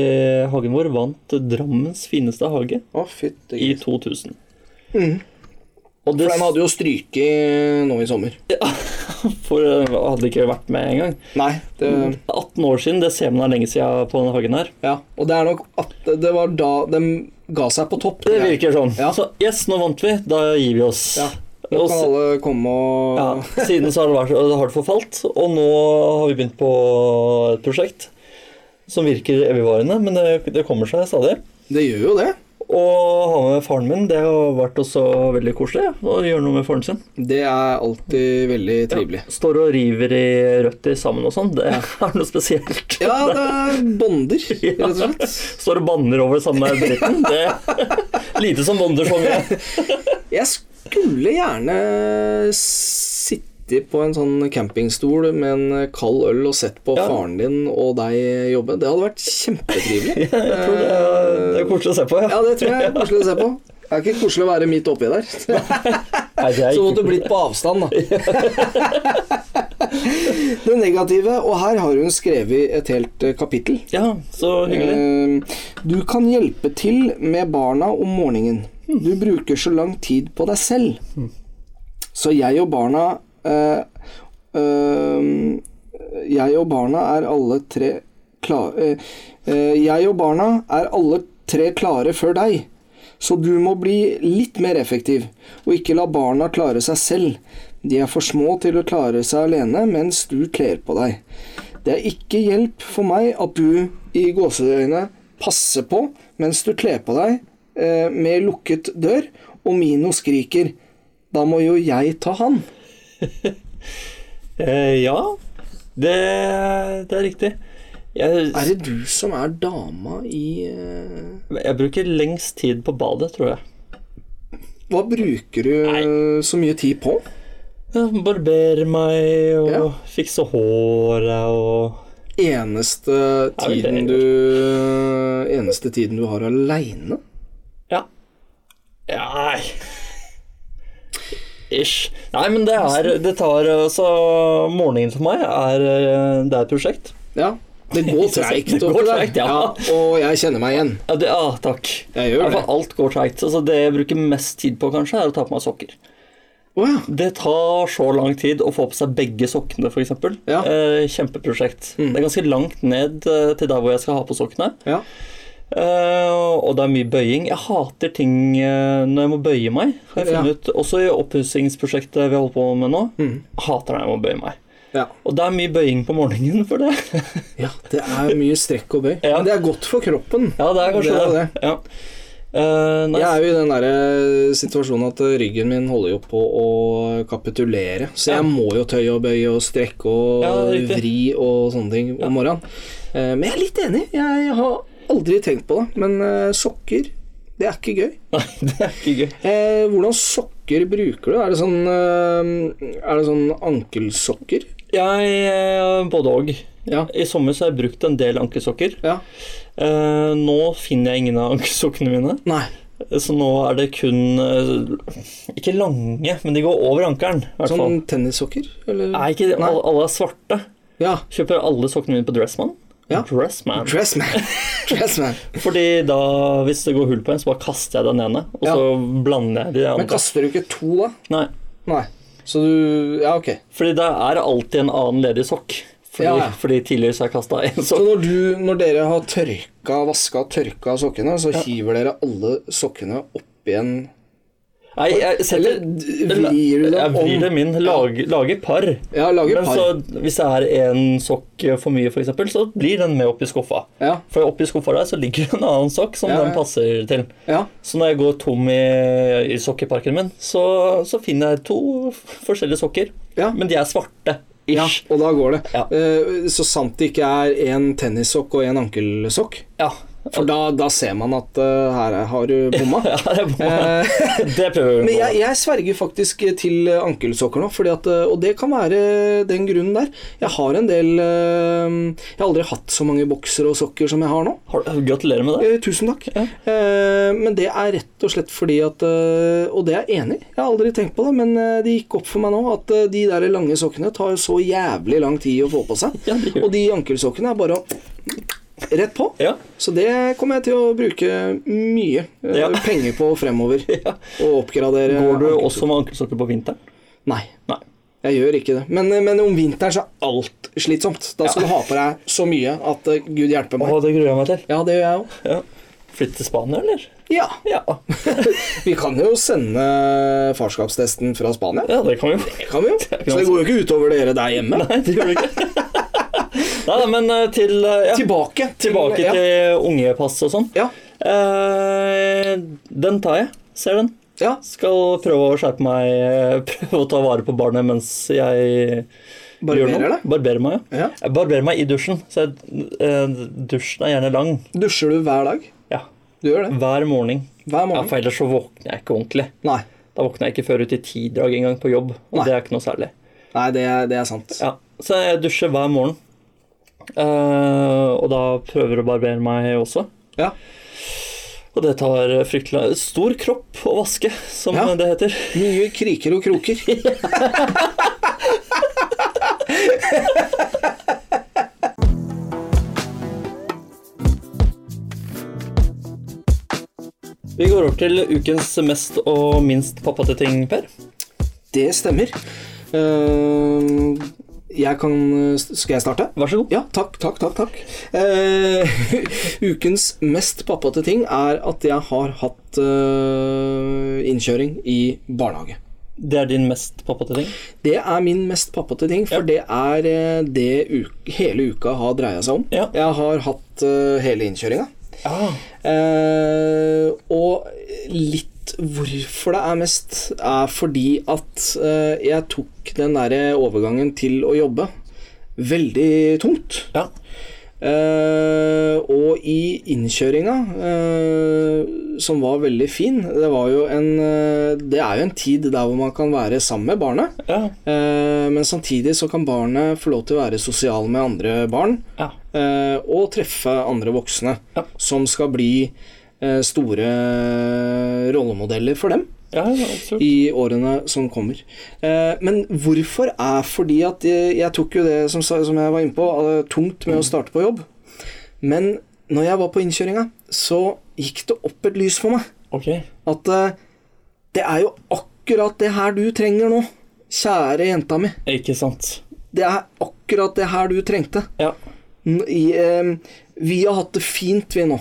Speaker 2: hagen vår vant Drammens fineste hage
Speaker 1: Å, fytti
Speaker 2: i
Speaker 1: grisen.
Speaker 2: 2000.
Speaker 1: Mhm. For
Speaker 2: Og det
Speaker 1: den hadde jo stryke nå i sommer.
Speaker 2: for, eh, hadde ikke vært med engang.
Speaker 1: Nei, det,
Speaker 2: 18 år siden, det ser man er lenge siden på denne hagen her.
Speaker 1: Mm. ja. Og det er nok at det var da de ga seg på topp.
Speaker 2: Det virker sånn.
Speaker 1: Ja.
Speaker 2: Så yes, nå vant vi, da gir vi oss.
Speaker 1: Ja. Nå
Speaker 2: Og
Speaker 1: kan
Speaker 2: s-
Speaker 1: alle komme og
Speaker 2: ja, siden så har det, vært, det har det forfalt, og nå har vi begynt på et prosjekt som virker evigvarende, men det, det kommer seg stadig.
Speaker 1: Det gjør jo det.
Speaker 2: Og ha med faren min, det har vært også veldig koselig å gjøre noe med faren sin.
Speaker 1: Det er alltid veldig trivelig.
Speaker 2: Står og river i røtter sammen og sånn, det er noe spesielt.
Speaker 1: Ja, det er bonder,
Speaker 2: Ja.
Speaker 1: rett og slett.
Speaker 2: Står og banner over samme dritten. Det lite som Wondersong.
Speaker 1: Jeg skulle gjerne sitte på en sånn campingstol med en kald øl og sett på
Speaker 2: Ja.
Speaker 1: faren din og deg jobbe. Det hadde vært kjempetrivelig.
Speaker 2: Jeg tror det er, det er koselig å se på. Ja.
Speaker 1: Ja, det tror jeg er koselig å se på. Det er ikke koselig å være midt oppi der.
Speaker 2: Nei, det er
Speaker 1: Så måtte
Speaker 2: ikke
Speaker 1: du blitt på avstand, da. det negative, og her har hun skrevet et helt eh, kapittel.
Speaker 2: Ja, så hyggelig.
Speaker 1: Eh, Du kan hjelpe til med barna om morgenen. Du bruker så lang tid på deg selv. Så jeg og barna eh, eh, Jeg og barna er alle tre kla- eh, eh, Jeg og barna er alle tre klare før deg. Så du må bli litt mer effektiv, og ikke la barna klare seg selv. De er for små til å klare seg alene mens du kler på deg. Det er ikke hjelp for meg at du i gåseøyne passer på mens du kler på deg eh, med lukket dør, og Mino skriker. Da må jo jeg ta han.
Speaker 2: Eh, ja, det, det er riktig. Jeg,
Speaker 1: Er det du som er dama i eh,
Speaker 2: jeg bruker lengst tid på badet, tror jeg.
Speaker 1: Hva bruker du så mye tid på?
Speaker 2: Ja, barberer meg og
Speaker 1: Ja.
Speaker 2: fikser håret og
Speaker 1: Eneste
Speaker 2: vel, det er
Speaker 1: tiden du Eneste tiden du har aleine?
Speaker 2: Ja. Nei Ish. Nei, men det er Det tar altså Morgenen for meg er eh, Det er et prosjekt.
Speaker 1: Ja. Det går treigt.
Speaker 2: Det går
Speaker 1: oppi der.
Speaker 2: treigt, ja.
Speaker 1: Og jeg kjenner meg igjen.
Speaker 2: Ja, det, ah, takk.
Speaker 1: Jeg gjør
Speaker 2: Ja, for
Speaker 1: det.
Speaker 2: Alt går treigt. Altså, det jeg bruker mest tid på, kanskje, er å ta på meg sokker.
Speaker 1: Å ja.
Speaker 2: Det tar så lang tid å få på seg begge sokkene, f.eks.
Speaker 1: Ja. Mm.
Speaker 2: Eh, kjempeprosjekt. Det er ganske langt ned eh, til der hvor jeg skal ha på sokkene.
Speaker 1: ja.
Speaker 2: Eh, og det er mye bøying. Jeg hater ting eh, når jeg må bøye meg. Har jeg funnet ut, Også i oppussingsprosjektet vi holder på med nå, hater jeg når jeg må bøye meg.
Speaker 1: Mm. Ja.
Speaker 2: Og det er mye bøying på morgenen for det.
Speaker 1: Ja, det er mye strekk og bøy.
Speaker 2: Ja.
Speaker 1: Men det er godt for kroppen.
Speaker 2: ja, det er kanskje
Speaker 1: Det
Speaker 2: det.
Speaker 1: er
Speaker 2: Ja. Eh, nei,
Speaker 1: Jeg er jo i den der eh, situasjonen at ryggen min holder jo på å kapitulere. Så jeg
Speaker 2: Ja.
Speaker 1: må jo tøye og bøye og strekke og
Speaker 2: Ja, riktig.
Speaker 1: vri og sånne ting om morgenen. Eh, Men jeg er litt enig. Jeg har aldri tenkt på det. Men eh, sokker, det er ikke gøy.
Speaker 2: nei, det er ikke gøy.
Speaker 1: Eh, Hvordan sokker bruker du? Er det sånn, eh, er det sånn ankelsokker?
Speaker 2: Jeg eh, både og.
Speaker 1: Ja.
Speaker 2: I sommer så har jeg brukt en del ankesokker.
Speaker 1: Ja.
Speaker 2: Eh, nå finner jeg ingen av ankesokkene mine.
Speaker 1: Nei.
Speaker 2: Så nå er det kun eh, Ikke lange, men de går over ankelen. i hvert fall.
Speaker 1: Sånn tennissokker? Eller?
Speaker 2: Nei, ikke,
Speaker 1: Nei.
Speaker 2: alle alle er svarte.
Speaker 1: Ja.
Speaker 2: Kjøper alle sokkene mine på Dressmann.
Speaker 1: Ja.
Speaker 2: Dressman.
Speaker 1: Dressman. Dressman.
Speaker 2: Fordi da, hvis det går hull på en, så bare kaster jeg den ene, og
Speaker 1: Ja.
Speaker 2: så blander jeg de
Speaker 1: Men
Speaker 2: andre.
Speaker 1: kaster du ikke to, da?
Speaker 2: Nei.
Speaker 1: Nei. Så du Ja, ok.
Speaker 2: Fordi det er alltid en annen ledig sokk. Fordi,
Speaker 1: Ja, ja.
Speaker 2: fordi tidligere så har jeg kasta én
Speaker 1: Så
Speaker 2: sokk.
Speaker 1: når, du, når dere har tørka, vaska og tørka sokkene, så hiver dere alle sokkene opp igjen
Speaker 2: Nei, jeg setter
Speaker 1: Eller vrir du
Speaker 2: Jeg
Speaker 1: dem
Speaker 2: vrir
Speaker 1: om?
Speaker 2: dem inn. Lager, lager par.
Speaker 1: Ja, lager
Speaker 2: Men
Speaker 1: par.
Speaker 2: så, hvis det er én sokk for mye, f.eks., så blir den med opp i skuffa.
Speaker 1: Ja.
Speaker 2: For oppi skuffa der så ligger det en annen sokk som
Speaker 1: Ja, ja.
Speaker 2: den passer til.
Speaker 1: ja.
Speaker 2: Så når jeg går tom i, i sokkeparken min, så, så finner jeg to forskjellige sokker.
Speaker 1: Ja.
Speaker 2: Men de er svarte.
Speaker 1: Ja,
Speaker 2: Ish.
Speaker 1: og da går det.
Speaker 2: Ja.
Speaker 1: Eh, Så sant det ikke er én tennissokk og én ankelsokk.
Speaker 2: Ja.
Speaker 1: For da, da ser man at eh, her har du bomma.
Speaker 2: ja det, må,
Speaker 1: Eh,
Speaker 2: det prøver vi
Speaker 1: Men
Speaker 2: på.
Speaker 1: jeg, jeg sverger faktisk til ankelsokker nå, fordi at, eh, og det kan være den grunnen der. Jeg har en del eh, Jeg har aldri hatt så mange boksere og sokker som jeg har nå.
Speaker 2: Har- Gratulerer med det.
Speaker 1: Eh, Tusen takk.
Speaker 2: Ja.
Speaker 1: Eh, Men det er rett og slett fordi at eh, Og det er jeg enig i, jeg har aldri tenkt på det, men eh, det gikk opp for meg nå at eh, de der lange sokkene tar jo så jævlig lang tid å få på seg.
Speaker 2: Ja, det gjør det.
Speaker 1: Og de ankelsokkene er bare å rett på.
Speaker 2: Ja.
Speaker 1: Så det kommer jeg til å bruke mye eh,
Speaker 2: Ja.
Speaker 1: penger på fremover. Og oppgradere.
Speaker 2: Går du
Speaker 1: ankelsokker.
Speaker 2: også med ankelsokker på vinteren?
Speaker 1: Nei.
Speaker 2: Nei.
Speaker 1: Jeg gjør ikke det. Men, eh, men om vinteren så er alt slitsomt. Da skal du ha på deg så mye at eh, gud hjelpe meg.
Speaker 2: det gruer jeg meg til.
Speaker 1: Ja, det gjør jeg òg.
Speaker 2: Ja. Flytte til Spania, eller?
Speaker 1: Ja.
Speaker 2: Ja.
Speaker 1: Vi kan jo sende farskapstesten fra Spania.
Speaker 2: ja, det kan vi jo.
Speaker 1: Kan vi jo. Så det går jo ikke utover dere der hjemme.
Speaker 2: Nei, det gjør det ikke. Nei, nei, men eh, til eh, ja.
Speaker 1: Tilbake.
Speaker 2: Tilbake
Speaker 1: ja.
Speaker 2: til ungepass og sånn.
Speaker 1: Ja.
Speaker 2: Eh, den tar jeg. Ser den.
Speaker 1: ja.
Speaker 2: Skal prøve å skjerpe meg, eh, prøve å ta vare på barnet mens jeg gjør
Speaker 1: Barberer
Speaker 2: noe.
Speaker 1: deg.
Speaker 2: Barberer meg, ja.
Speaker 1: Ja.
Speaker 2: Jeg barberer meg i dusjen, så jeg, eh, dusjen er gjerne lang.
Speaker 1: Dusjer du hver dag?
Speaker 2: Ja,
Speaker 1: Du gjør det.
Speaker 2: Hver morgen.
Speaker 1: Hver
Speaker 2: Mm. Ja,
Speaker 1: morgen.
Speaker 2: for ellers så våkner jeg ikke ordentlig.
Speaker 1: Nei.
Speaker 2: Da våkner jeg ikke før ut i tidrag engang på jobb, og
Speaker 1: Nei.
Speaker 2: det er ikke noe særlig.
Speaker 1: Nei, det er, det er sant.
Speaker 2: Ja, så jeg dusjer hver morgen. Eh, og da prøver å barbere meg også.
Speaker 1: Ja.
Speaker 2: Og det tar fryktelig Stor kropp å vaske, som
Speaker 1: Ja.
Speaker 2: det heter.
Speaker 1: Mye kriker og kroker.
Speaker 2: Vi går over til ukens mest og minst pappate ting, Per.
Speaker 1: Det stemmer. Eh, jeg kan Skal jeg starte?
Speaker 2: Vær så god.
Speaker 1: Ja, takk, takk, takk. takk. Eh, ukens mest pappate ting er at jeg har hatt eh, innkjøring i barnehage.
Speaker 2: Det er din mest pappate ting.
Speaker 1: Det er min mest pappate ting, for det er eh, det u- hele uka har dreia seg om.
Speaker 2: Ja.
Speaker 1: Jeg har hatt eh, hele innkjøringa. Ah,
Speaker 2: Ja.
Speaker 1: Eh, og litt hvorfor det er mest, er fordi at eh, jeg tok den derre overgangen til å jobbe veldig tungt.
Speaker 2: ja.
Speaker 1: Eh, og i innkjøringa, eh, som var veldig fin Det var jo en eh, Det er jo en tid der hvor man kan være sammen med barnet.
Speaker 2: Ja.
Speaker 1: Eh, men samtidig så kan barnet få lov til å være sosial med andre barn.
Speaker 2: Ja.
Speaker 1: Eh, og treffe andre voksne
Speaker 2: Ja.
Speaker 1: som skal bli eh, store rollemodeller for dem
Speaker 2: ja absolutt.
Speaker 1: i årene som kommer. Eh, men hvorfor er fordi at jeg, jeg tok jo det som, sa- som jeg var inne på, eh, tungt med å starte på jobb. Men når jeg var på innkjøringa, så gikk det opp et lys for meg.
Speaker 2: Ok.
Speaker 1: At eh, det er jo akkurat det her du trenger nå, kjære jenta mi.
Speaker 2: Ikke sant.
Speaker 1: Det er akkurat det her du trengte.
Speaker 2: Ja.
Speaker 1: N- I, eh, vi har hatt det fint, vi nå.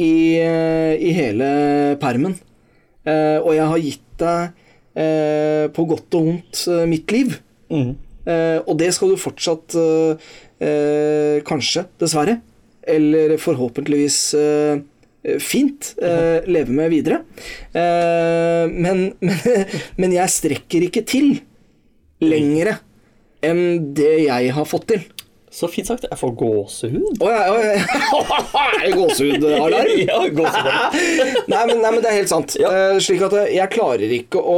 Speaker 1: I, eh, i hele permen. Eh, og jeg har gitt deg, eh, på godt og vondt, eh, mitt liv.
Speaker 2: Mm.
Speaker 1: Eh, og det skal du fortsatt, eh, eh, kanskje, dessverre, eller forhåpentligvis eh, fint, eh, leve med videre. Eh, men, men, men jeg strekker ikke til lengre enn det jeg har fått til.
Speaker 2: Så fint sagt. Jeg får gåsehud.
Speaker 1: Å ja, å ja. Er det gåsehudalarm?
Speaker 2: ja, gåsehud.
Speaker 1: Nei men, nei, men det er helt sant. Eh, slik at jeg- jeg klarer ikke å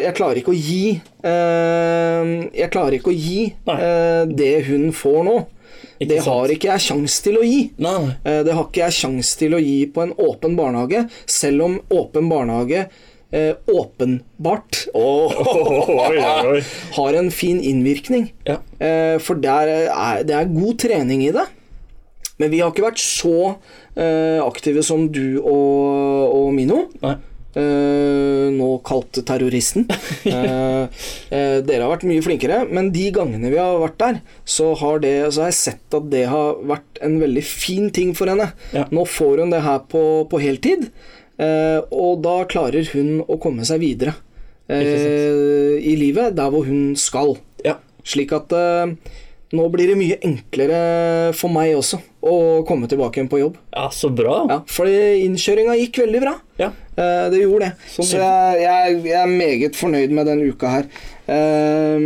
Speaker 1: Jeg klarer ikke å gi eh, Jeg klarer ikke å gi
Speaker 2: Nei.
Speaker 1: eh, det hun får nå.
Speaker 2: Ikke
Speaker 1: det
Speaker 2: sant.
Speaker 1: har ikke jeg sjans til å gi.
Speaker 2: Nei, nei.
Speaker 1: Eh, det har ikke jeg sjans til å gi på en åpen barnehage, selv om åpen barnehage eh, åpenbart
Speaker 2: Oi, oi, oi.
Speaker 1: har en fin innvirkning.
Speaker 2: Ja.
Speaker 1: Eh, for der er, det er god trening i det. Men vi har ikke vært så eh, aktive som du og, og Mino.
Speaker 2: Nei.
Speaker 1: Eh, nå kalt terroristen. Eh, eh, dere har vært mye flinkere, men de gangene vi har vært der, så har, det, så har jeg sett at det har vært en veldig fin ting for henne.
Speaker 2: Ja.
Speaker 1: Nå får hun det her på, på heltid, eh, og da klarer hun å komme seg videre eh, i livet der hvor hun skal.
Speaker 2: Ja.
Speaker 1: Slik at eh, nå blir det mye enklere for meg også å komme tilbake igjen på jobb.
Speaker 2: ja, så bra.
Speaker 1: Ja, fordi innkjøringa gikk veldig bra.
Speaker 2: Ja.
Speaker 1: Eh, det gjorde det.
Speaker 2: Sånn
Speaker 1: Så jeg, jeg, jeg er meget fornøyd med den uka her. Eh,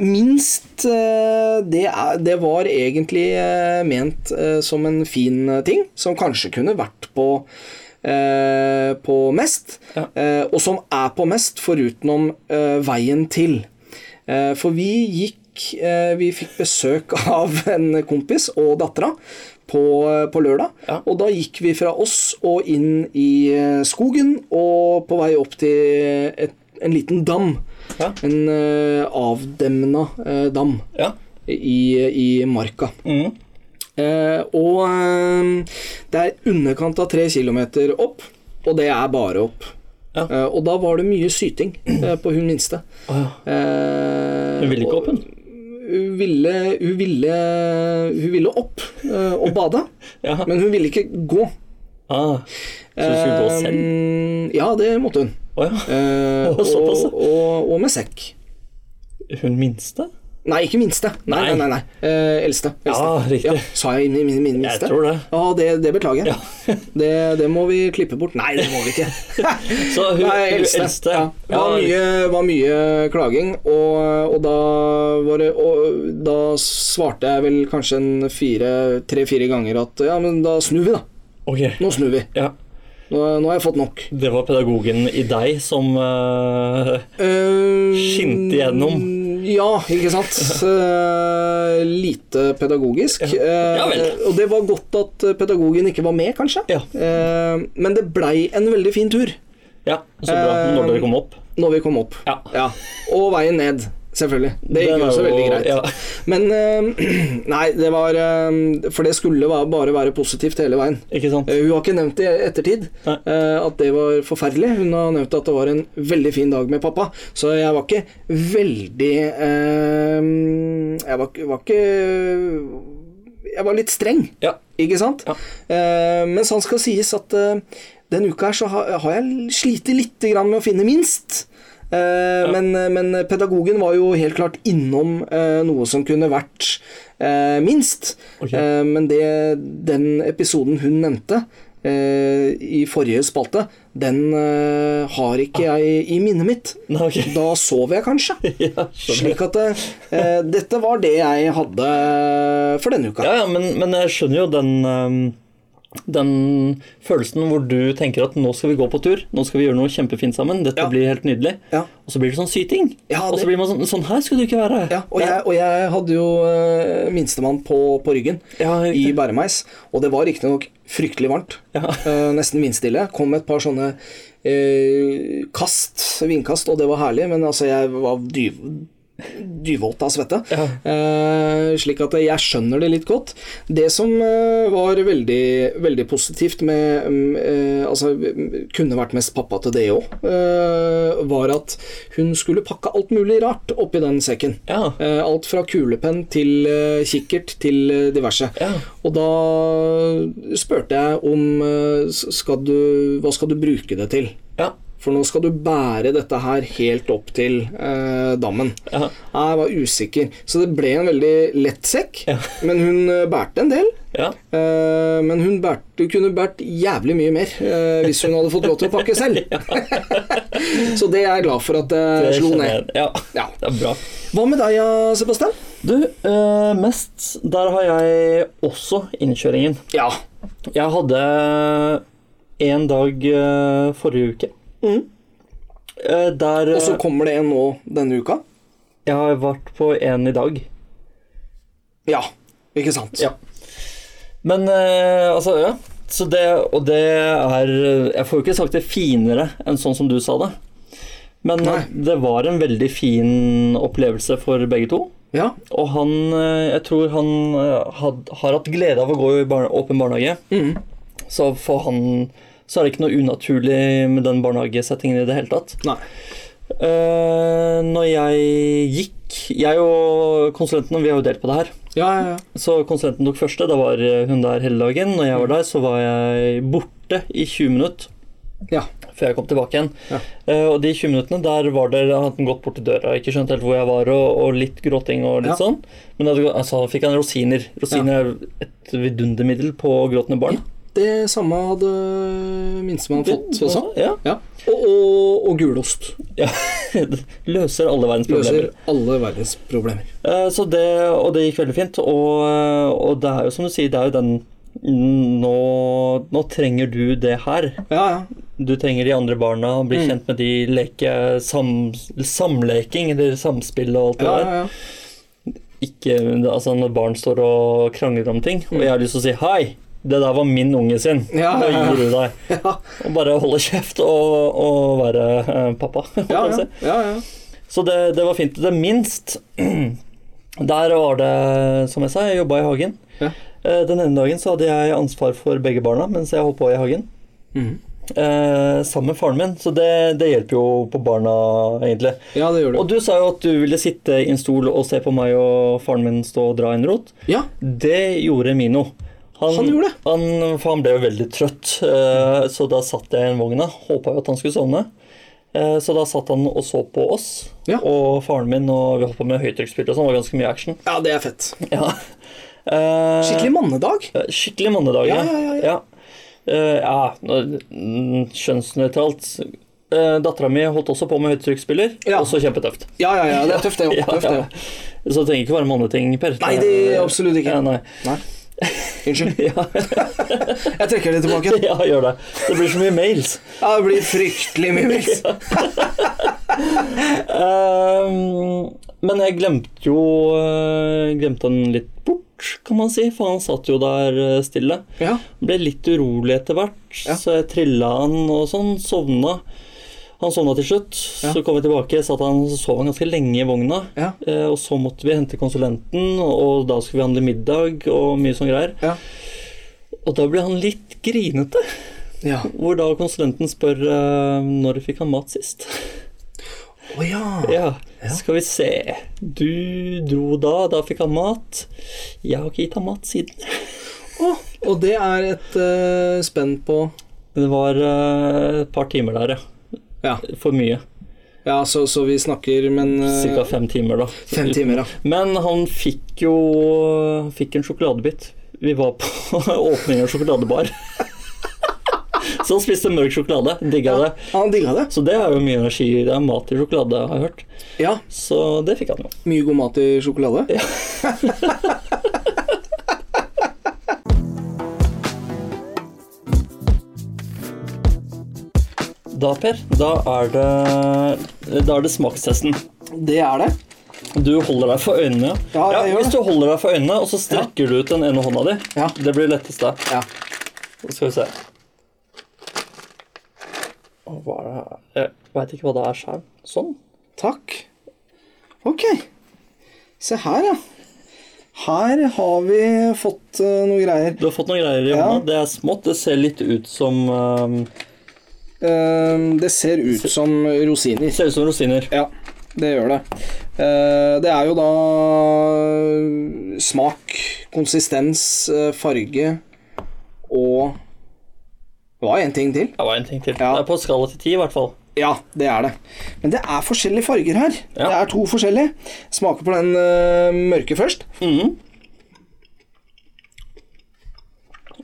Speaker 1: minst eh, det, er, det var egentlig eh, ment eh, som en fin eh, ting, som kanskje kunne vært på eh, på mest,
Speaker 2: Ja.
Speaker 1: eh, og som er på mest, forutenom eh, veien til. Eh, for vi gikk eh, Vi fikk besøk av en kompis og dattera på, eh, på lørdag.
Speaker 2: Ja.
Speaker 1: Og da gikk vi fra oss og inn i eh, skogen og på vei opp til et, en liten dam.
Speaker 2: Ja.
Speaker 1: En eh, avdemna eh, dam
Speaker 2: Ja.
Speaker 1: i, i marka.
Speaker 2: Mm.
Speaker 1: Eh, og eh, det er underkant av tre kilometer opp, og det er bare opp.
Speaker 2: Ja.
Speaker 1: Eh, og da var det mye syting eh, på hun minste.
Speaker 2: Å, ja.
Speaker 1: Eh,
Speaker 2: Hun ville ikke opp, hun.
Speaker 1: Hun ville, hun ville, hun ville opp eh, og bade,
Speaker 2: Ja.
Speaker 1: men hun ville ikke gå.
Speaker 2: Ah. Så du skulle gå selv?
Speaker 1: Eh, ja, det måtte hun.
Speaker 2: Å ja.
Speaker 1: Eh,
Speaker 2: Å,
Speaker 1: og,
Speaker 2: såpass, ja.
Speaker 1: og, og med sekk.
Speaker 2: Hun minste?
Speaker 1: Nei, ikke minste. Nei, nei,
Speaker 2: Nei.
Speaker 1: nei. nei. Eh, eldste. eldste.
Speaker 2: Ja, riktig.
Speaker 1: sa jeg inn i min, min
Speaker 2: Jeg
Speaker 1: minste?
Speaker 2: tror det.
Speaker 1: Ja, det, det beklager jeg. det, det må vi klippe bort. Nei, det må vi ikke.
Speaker 2: Så hun,
Speaker 1: Nei,
Speaker 2: hun
Speaker 1: eldste.
Speaker 2: eldste.
Speaker 1: Ja. Det var mye, var mye klaging, og, og, da var det, og da svarte jeg vel kanskje en fire, tre-fire ganger at ja, men da snur vi, da.
Speaker 2: Ok.
Speaker 1: Nå snur vi.
Speaker 2: Ja.
Speaker 1: Nå, nå har jeg fått nok.
Speaker 2: Det var pedagogen i deg som eh,
Speaker 1: Eh,
Speaker 2: Skinte gjennom.
Speaker 1: Ja, ikke sant. Eh, lite pedagogisk. Eh,
Speaker 2: Ja vel.
Speaker 1: og det var godt at pedagogen ikke var med, kanskje.
Speaker 2: Ja.
Speaker 1: Eh, men det blei en veldig fin tur
Speaker 2: Ja, så bra. Når dere kom opp.
Speaker 1: når vi kom opp.
Speaker 2: Ja.
Speaker 1: Og veien ned, selvfølgelig. Det
Speaker 2: Den
Speaker 1: gikk jo
Speaker 2: er
Speaker 1: også veldig greit.
Speaker 2: Ja.
Speaker 1: Men eh, Nei, det var eh, For det skulle va- bare være positivt hele veien.
Speaker 2: Ikke sant?
Speaker 1: Eh, Hun har ikke nevnt det i ettertid,
Speaker 2: Nei.
Speaker 1: eh, at det var forferdelig. Hun har nevnt at det var en veldig fin dag med pappa, så jeg var ikke veldig eh, Jeg var, ikke- var ikke Jeg var litt streng,
Speaker 2: Ja.
Speaker 1: ikke sant?
Speaker 2: Ja.
Speaker 1: Eh, men sånn skal sies at eh, denne uka her så har, har jeg slitt lite grann med å finne minst. Eh, men, men pedagogen var jo helt klart innom eh, noe som kunne vært eh, minst.
Speaker 2: Ok.
Speaker 1: Eh, men det, den episoden hun nevnte eh, i forrige spalte, den eh, har ikke jeg i minnet mitt.
Speaker 2: Ah. Nei, ok.
Speaker 1: Da sover jeg kanskje.
Speaker 2: Ja, skjønner.
Speaker 1: Slik at eh, dette var det jeg hadde eh, for denne uka.
Speaker 2: ja, ja men, men jeg skjønner jo den ehm, den følelsen hvor du tenker at nå skal vi gå på tur, nå skal vi gjøre noe kjempefint sammen, dette
Speaker 1: Ja.
Speaker 2: blir helt nydelig.
Speaker 1: Ja.
Speaker 2: Og så blir det sånn syting.
Speaker 1: Ja,
Speaker 2: Og
Speaker 1: det-
Speaker 2: så blir man sånn Sånn her skulle du ikke være.
Speaker 1: Ja, og, jeg, og jeg hadde jo eh, minstemann på, på ryggen
Speaker 2: Ja,
Speaker 1: i
Speaker 2: riktig.
Speaker 1: bæremeis, og det var riktignok fryktelig varmt.
Speaker 2: Ja.
Speaker 1: Eh, nesten vindstille. Kom et par sånne eh, kast, vindkast, og det var herlig, men altså, jeg var dyv, dyvvåt av svette.
Speaker 2: Ja.
Speaker 1: Eh, slik at jeg skjønner det litt godt. Det som eh, var veldig, veldig positivt med mm, eh, Altså, mm, kunne vært mest pappa til det òg, var at hun skulle pakke alt mulig rart oppi den sekken.
Speaker 2: Ja.
Speaker 1: Eh, Alt fra kulepenn til eh, kikkert til eh, diverse.
Speaker 2: Ja.
Speaker 1: Og da spurte jeg om eh, s- skal du, hva skal du bruke det til?
Speaker 2: Ja.
Speaker 1: For nå skal du bære dette her helt opp til eh, dammen.
Speaker 2: Ja.
Speaker 1: Jeg var usikker, så det ble en veldig lett sekk.
Speaker 2: Ja.
Speaker 1: Men hun eh, bærte en del.
Speaker 2: ja.
Speaker 1: Eh, men hun bærte, kunne bært jævlig mye mer eh, hvis hun hadde fått lov til å pakke selv. så det er jeg glad for at jeg
Speaker 2: Det
Speaker 1: slo
Speaker 2: skjønner
Speaker 1: ned.
Speaker 2: jeg. Ja.
Speaker 1: Ja.
Speaker 2: Det er bra.
Speaker 1: Hva med deg, ja, Sebastian?
Speaker 2: Du, eh, mest Der har jeg også innkjøringen.
Speaker 1: Ja.
Speaker 2: Jeg hadde en dag eh, forrige uke eh, der
Speaker 1: Mm. Og så
Speaker 2: eh,
Speaker 1: kommer det en nå denne uka?
Speaker 2: Jeg har vært på en i dag.
Speaker 1: Ja. Ikke sant?
Speaker 2: Ja. Men eh, altså, ja. Så det, og det er Jeg får jo ikke sagt det finere enn sånn som du sa det. Men
Speaker 1: Nei.
Speaker 2: det var en veldig fin opplevelse for begge to.
Speaker 1: Ja.
Speaker 2: Og han, eh, jeg tror han eh, had, har hatt glede av å gå i barne, åpen barnehage.
Speaker 1: Mm.
Speaker 2: Så for han så er det ikke noe unaturlig med den barnehagesettingen i det hele tatt.
Speaker 1: Nei.
Speaker 2: Eh, når jeg gikk Jeg og konsulenten, vi har jo delt på det her.
Speaker 1: Ja, ja, ja.
Speaker 2: Så konsulenten tok første. Da var hun der hele dagen. Når jeg var der, så var jeg borte i 20 minutter
Speaker 1: Ja.
Speaker 2: før jeg kom tilbake igjen.
Speaker 1: Ja.
Speaker 2: Eh, og de 20 minuttene der var det, da hadde han gått bort til døra, ikke skjønt helt hvor jeg var, og, og litt gråting og litt
Speaker 1: Ja.
Speaker 2: sånn. Men da altså, fikk han rosiner. Rosiner er et vidundermiddel på gråtende barn.
Speaker 1: Det samme hadde minstemann fått sånn? også.
Speaker 2: Ja.
Speaker 1: Ja. Og, og, og gulost.
Speaker 2: ja. Løser alle verdens problemer.
Speaker 1: Løser alle verdens problemer.
Speaker 2: Eh, Så det, og det gikk veldig fint. Og, og det er jo som du sier, det er jo den nå, nå trenger du det her.
Speaker 1: Ja, ja.
Speaker 2: Du trenger de andre barna, bli
Speaker 1: Mm.
Speaker 2: kjent med de, leke sam, samleking eller samspill og alt det
Speaker 1: ja,
Speaker 2: der.
Speaker 1: ja, ja.
Speaker 2: Ikke altså når barn står og krangler om ting, og jeg har lyst til å si hei. Det der var min unge sin.
Speaker 1: Mm. Ja,
Speaker 2: Nå
Speaker 1: ja, ja.
Speaker 2: gir du deg.
Speaker 1: Ja.
Speaker 2: Og bare holde kjeft og, og være eh, pappa. holdt
Speaker 1: Ja,
Speaker 2: jeg på å
Speaker 1: ja,
Speaker 2: si.
Speaker 1: ja, ja.
Speaker 2: Så det, det var fint. Det minst Der var det, som jeg sa, jeg jobba i hagen.
Speaker 1: Ja.
Speaker 2: Eh, Den ene dagen så hadde jeg ansvar for begge barna mens jeg holdt på i hagen.
Speaker 1: Mhm.
Speaker 2: Eh, sammen med faren min, så det, det hjelper jo på barna, egentlig.
Speaker 1: ja det gjør
Speaker 2: Og
Speaker 1: du.
Speaker 2: du sa jo at du ville sitte i en stol og se på meg og faren min stå og dra en rot.
Speaker 1: Ja,
Speaker 2: Det gjorde Mino.
Speaker 1: Han gjorde det.
Speaker 2: han- for han ble jo veldig trøtt, eh, så da satt jeg i en vogna. Håpa jo at han skulle sovne. Eh, Så da satt han og så på oss
Speaker 1: Ja.
Speaker 2: og faren min, og vi holdt på med høytrykksspill og sånn. Det var ganske mye action.
Speaker 1: ja, det er fett.
Speaker 2: Ja. Eh,
Speaker 1: Skikkelig mannedag.
Speaker 2: eh, Skikkelig mannedag,
Speaker 1: Ja, ja, ja, ja.
Speaker 2: ja. Eh, ja, nå- mm, Kjønnsnøytralt. Dattera mi holdt også på med høytrykksspiller,
Speaker 1: Ja.
Speaker 2: også kjempetøft.
Speaker 1: Ja, ja, ja, det er tøft, det òg. Tøft, det òg.
Speaker 2: Så det trenger ikke være manneting, Per.
Speaker 1: Nei, det er absolutt ikke.
Speaker 2: Ja, nei.
Speaker 1: Nei. Unnskyld.
Speaker 2: Ja.
Speaker 1: Jeg trekker det tilbake.
Speaker 2: Ja, gjør det. Det blir så mye mails.
Speaker 1: Ja, det blir fryktelig mye mils.
Speaker 2: Ehm, men jeg glemte jo eh, Glemte han litt bort, kan man si, for han satt jo der eh, stille.
Speaker 1: Ja.
Speaker 2: Ble litt urolig etter hvert,
Speaker 1: Ja.
Speaker 2: så jeg trilla han og sånn. Sovna. Han sovna til slutt.
Speaker 1: Ja.
Speaker 2: Så kom jeg tilbake, satt han, så sov han ganske lenge i vogna.
Speaker 1: Ja.
Speaker 2: Eh, og så måtte vi hente konsulenten, og da skulle vi handle middag og mye sånn greier.
Speaker 1: Ja.
Speaker 2: Og da ble han litt grinete.
Speaker 1: ja.
Speaker 2: Hvor da konsulenten spør eh, når fikk han mat sist?
Speaker 1: Å ja.
Speaker 2: Ja, skal vi se. Du dro da, da fikk han mat. Jeg har ikke gitt han mat siden.
Speaker 1: Å, og det er et eh, spenn på
Speaker 2: Det var eh, et par timer der, ja.
Speaker 1: Ja,
Speaker 2: For mye.
Speaker 1: ja så, så vi snakker, men eh,
Speaker 2: Cirka fem timer, da.
Speaker 1: fem timer, ja.
Speaker 2: Men han fikk jo han fikk en sjokoladebit. Vi var på åpning av sjokoladebar. Så han spiste mørk sjokolade. Digga det.
Speaker 1: Han digga det.
Speaker 2: Så det er jo mye energi. Det er mat i sjokolade, har jeg hørt.
Speaker 1: Ja.
Speaker 2: Så det fikk han jo.
Speaker 1: Mye god mat i sjokolade.
Speaker 2: Da, Per, da er det, da er det smakstesten.
Speaker 1: Det er det.
Speaker 2: Du holder deg for øynene.
Speaker 1: Ja, jeg gjør
Speaker 2: hvis du holder deg for øynene, og så strekker du ut den ene hånda di.
Speaker 1: Ja.
Speaker 2: Det blir lettest, da.
Speaker 1: Ja.
Speaker 2: Nå Skal vi se. Å, Hva er det her? Jeg veit ikke hva det er sjøl. Sånn.
Speaker 1: Takk. Ok. Se her, ja. Her har vi fått eh, noe greier.
Speaker 2: Du har fått noen greier i
Speaker 1: Ja.
Speaker 2: hånda. Det er smått. Det ser litt ut som ehm,
Speaker 1: Eh, det ser ut som rosiner.
Speaker 2: Ser ut som rosiner.
Speaker 1: Ja, det gjør det. Eh, Det er jo da eh, smak, konsistens, eh, farge og Det var én ting til.
Speaker 2: Det var en ting til.
Speaker 1: Ja.
Speaker 2: Det er på skala til ti, i hvert fall.
Speaker 1: Ja, det er det. Men det er forskjellige farger her.
Speaker 2: Ja.
Speaker 1: Det er to forskjellige. Smaker på den eh, mørke først.
Speaker 2: Mhm.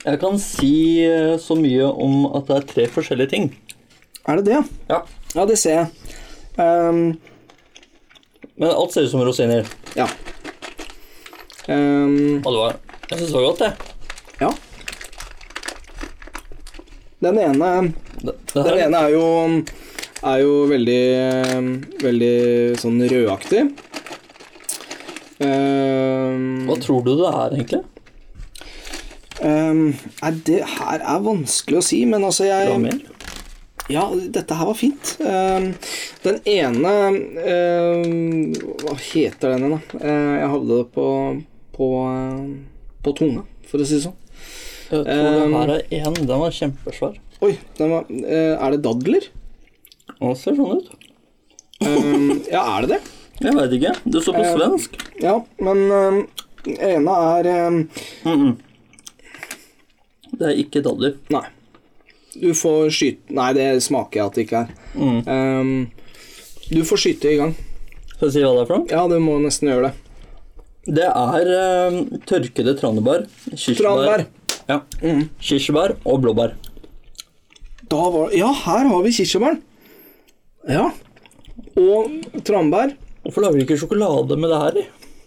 Speaker 2: Jeg kan si eh, så mye om at det er tre forskjellige ting.
Speaker 1: Er det det?
Speaker 2: Ja.
Speaker 1: Ja, det ser jeg. Ehm,
Speaker 2: Men alt ser ut som rosiner.
Speaker 1: ja. Ehm,
Speaker 2: Og det var, jeg syns det var godt, jeg.
Speaker 1: ja. Den ene
Speaker 2: Det, det
Speaker 1: Den
Speaker 2: her,
Speaker 1: ene er jo, er jo veldig, eh, veldig sånn rødaktig. Ehm,
Speaker 2: hva tror du det er, egentlig?
Speaker 1: ehm, nei, det her er vanskelig å si, men altså jeg
Speaker 2: Ramel?
Speaker 1: Ja, dette her var fint. Ehm, Den ene ehm, Hva heter den igjen, da? Eh, Jeg hadde det på, på, eh, på tunga, for å si det sånn.
Speaker 2: Jeg tror den
Speaker 1: Um,
Speaker 2: her er én. Den var kjempesvær.
Speaker 1: Oi, den var, eh, er det dadler?
Speaker 2: Den ser sånn ut.
Speaker 1: Ehm, ja, er det det?
Speaker 2: Jeg veit ikke. Det står på
Speaker 1: Um,
Speaker 2: svensk.
Speaker 1: Ja, men ehm, den ene er ehm,
Speaker 2: Mm -mm. Det er ikke dadler.
Speaker 1: Nei. Du får skyte Nei, det smaker jeg at det ikke er.
Speaker 2: Mm.
Speaker 1: Ehm, du får skyte i gang.
Speaker 2: Skal jeg si hva det er for noe?
Speaker 1: Ja, du må nesten gjøre det.
Speaker 2: Det er um, tørkede tranebær, kirsebær,
Speaker 1: Tranbær.
Speaker 2: ja. kirsebær og blåbær.
Speaker 1: Da var Ja, her har vi kirsebæren. Ja. Og tranbær.
Speaker 2: Hvorfor lager de ikke sjokolade med det her i?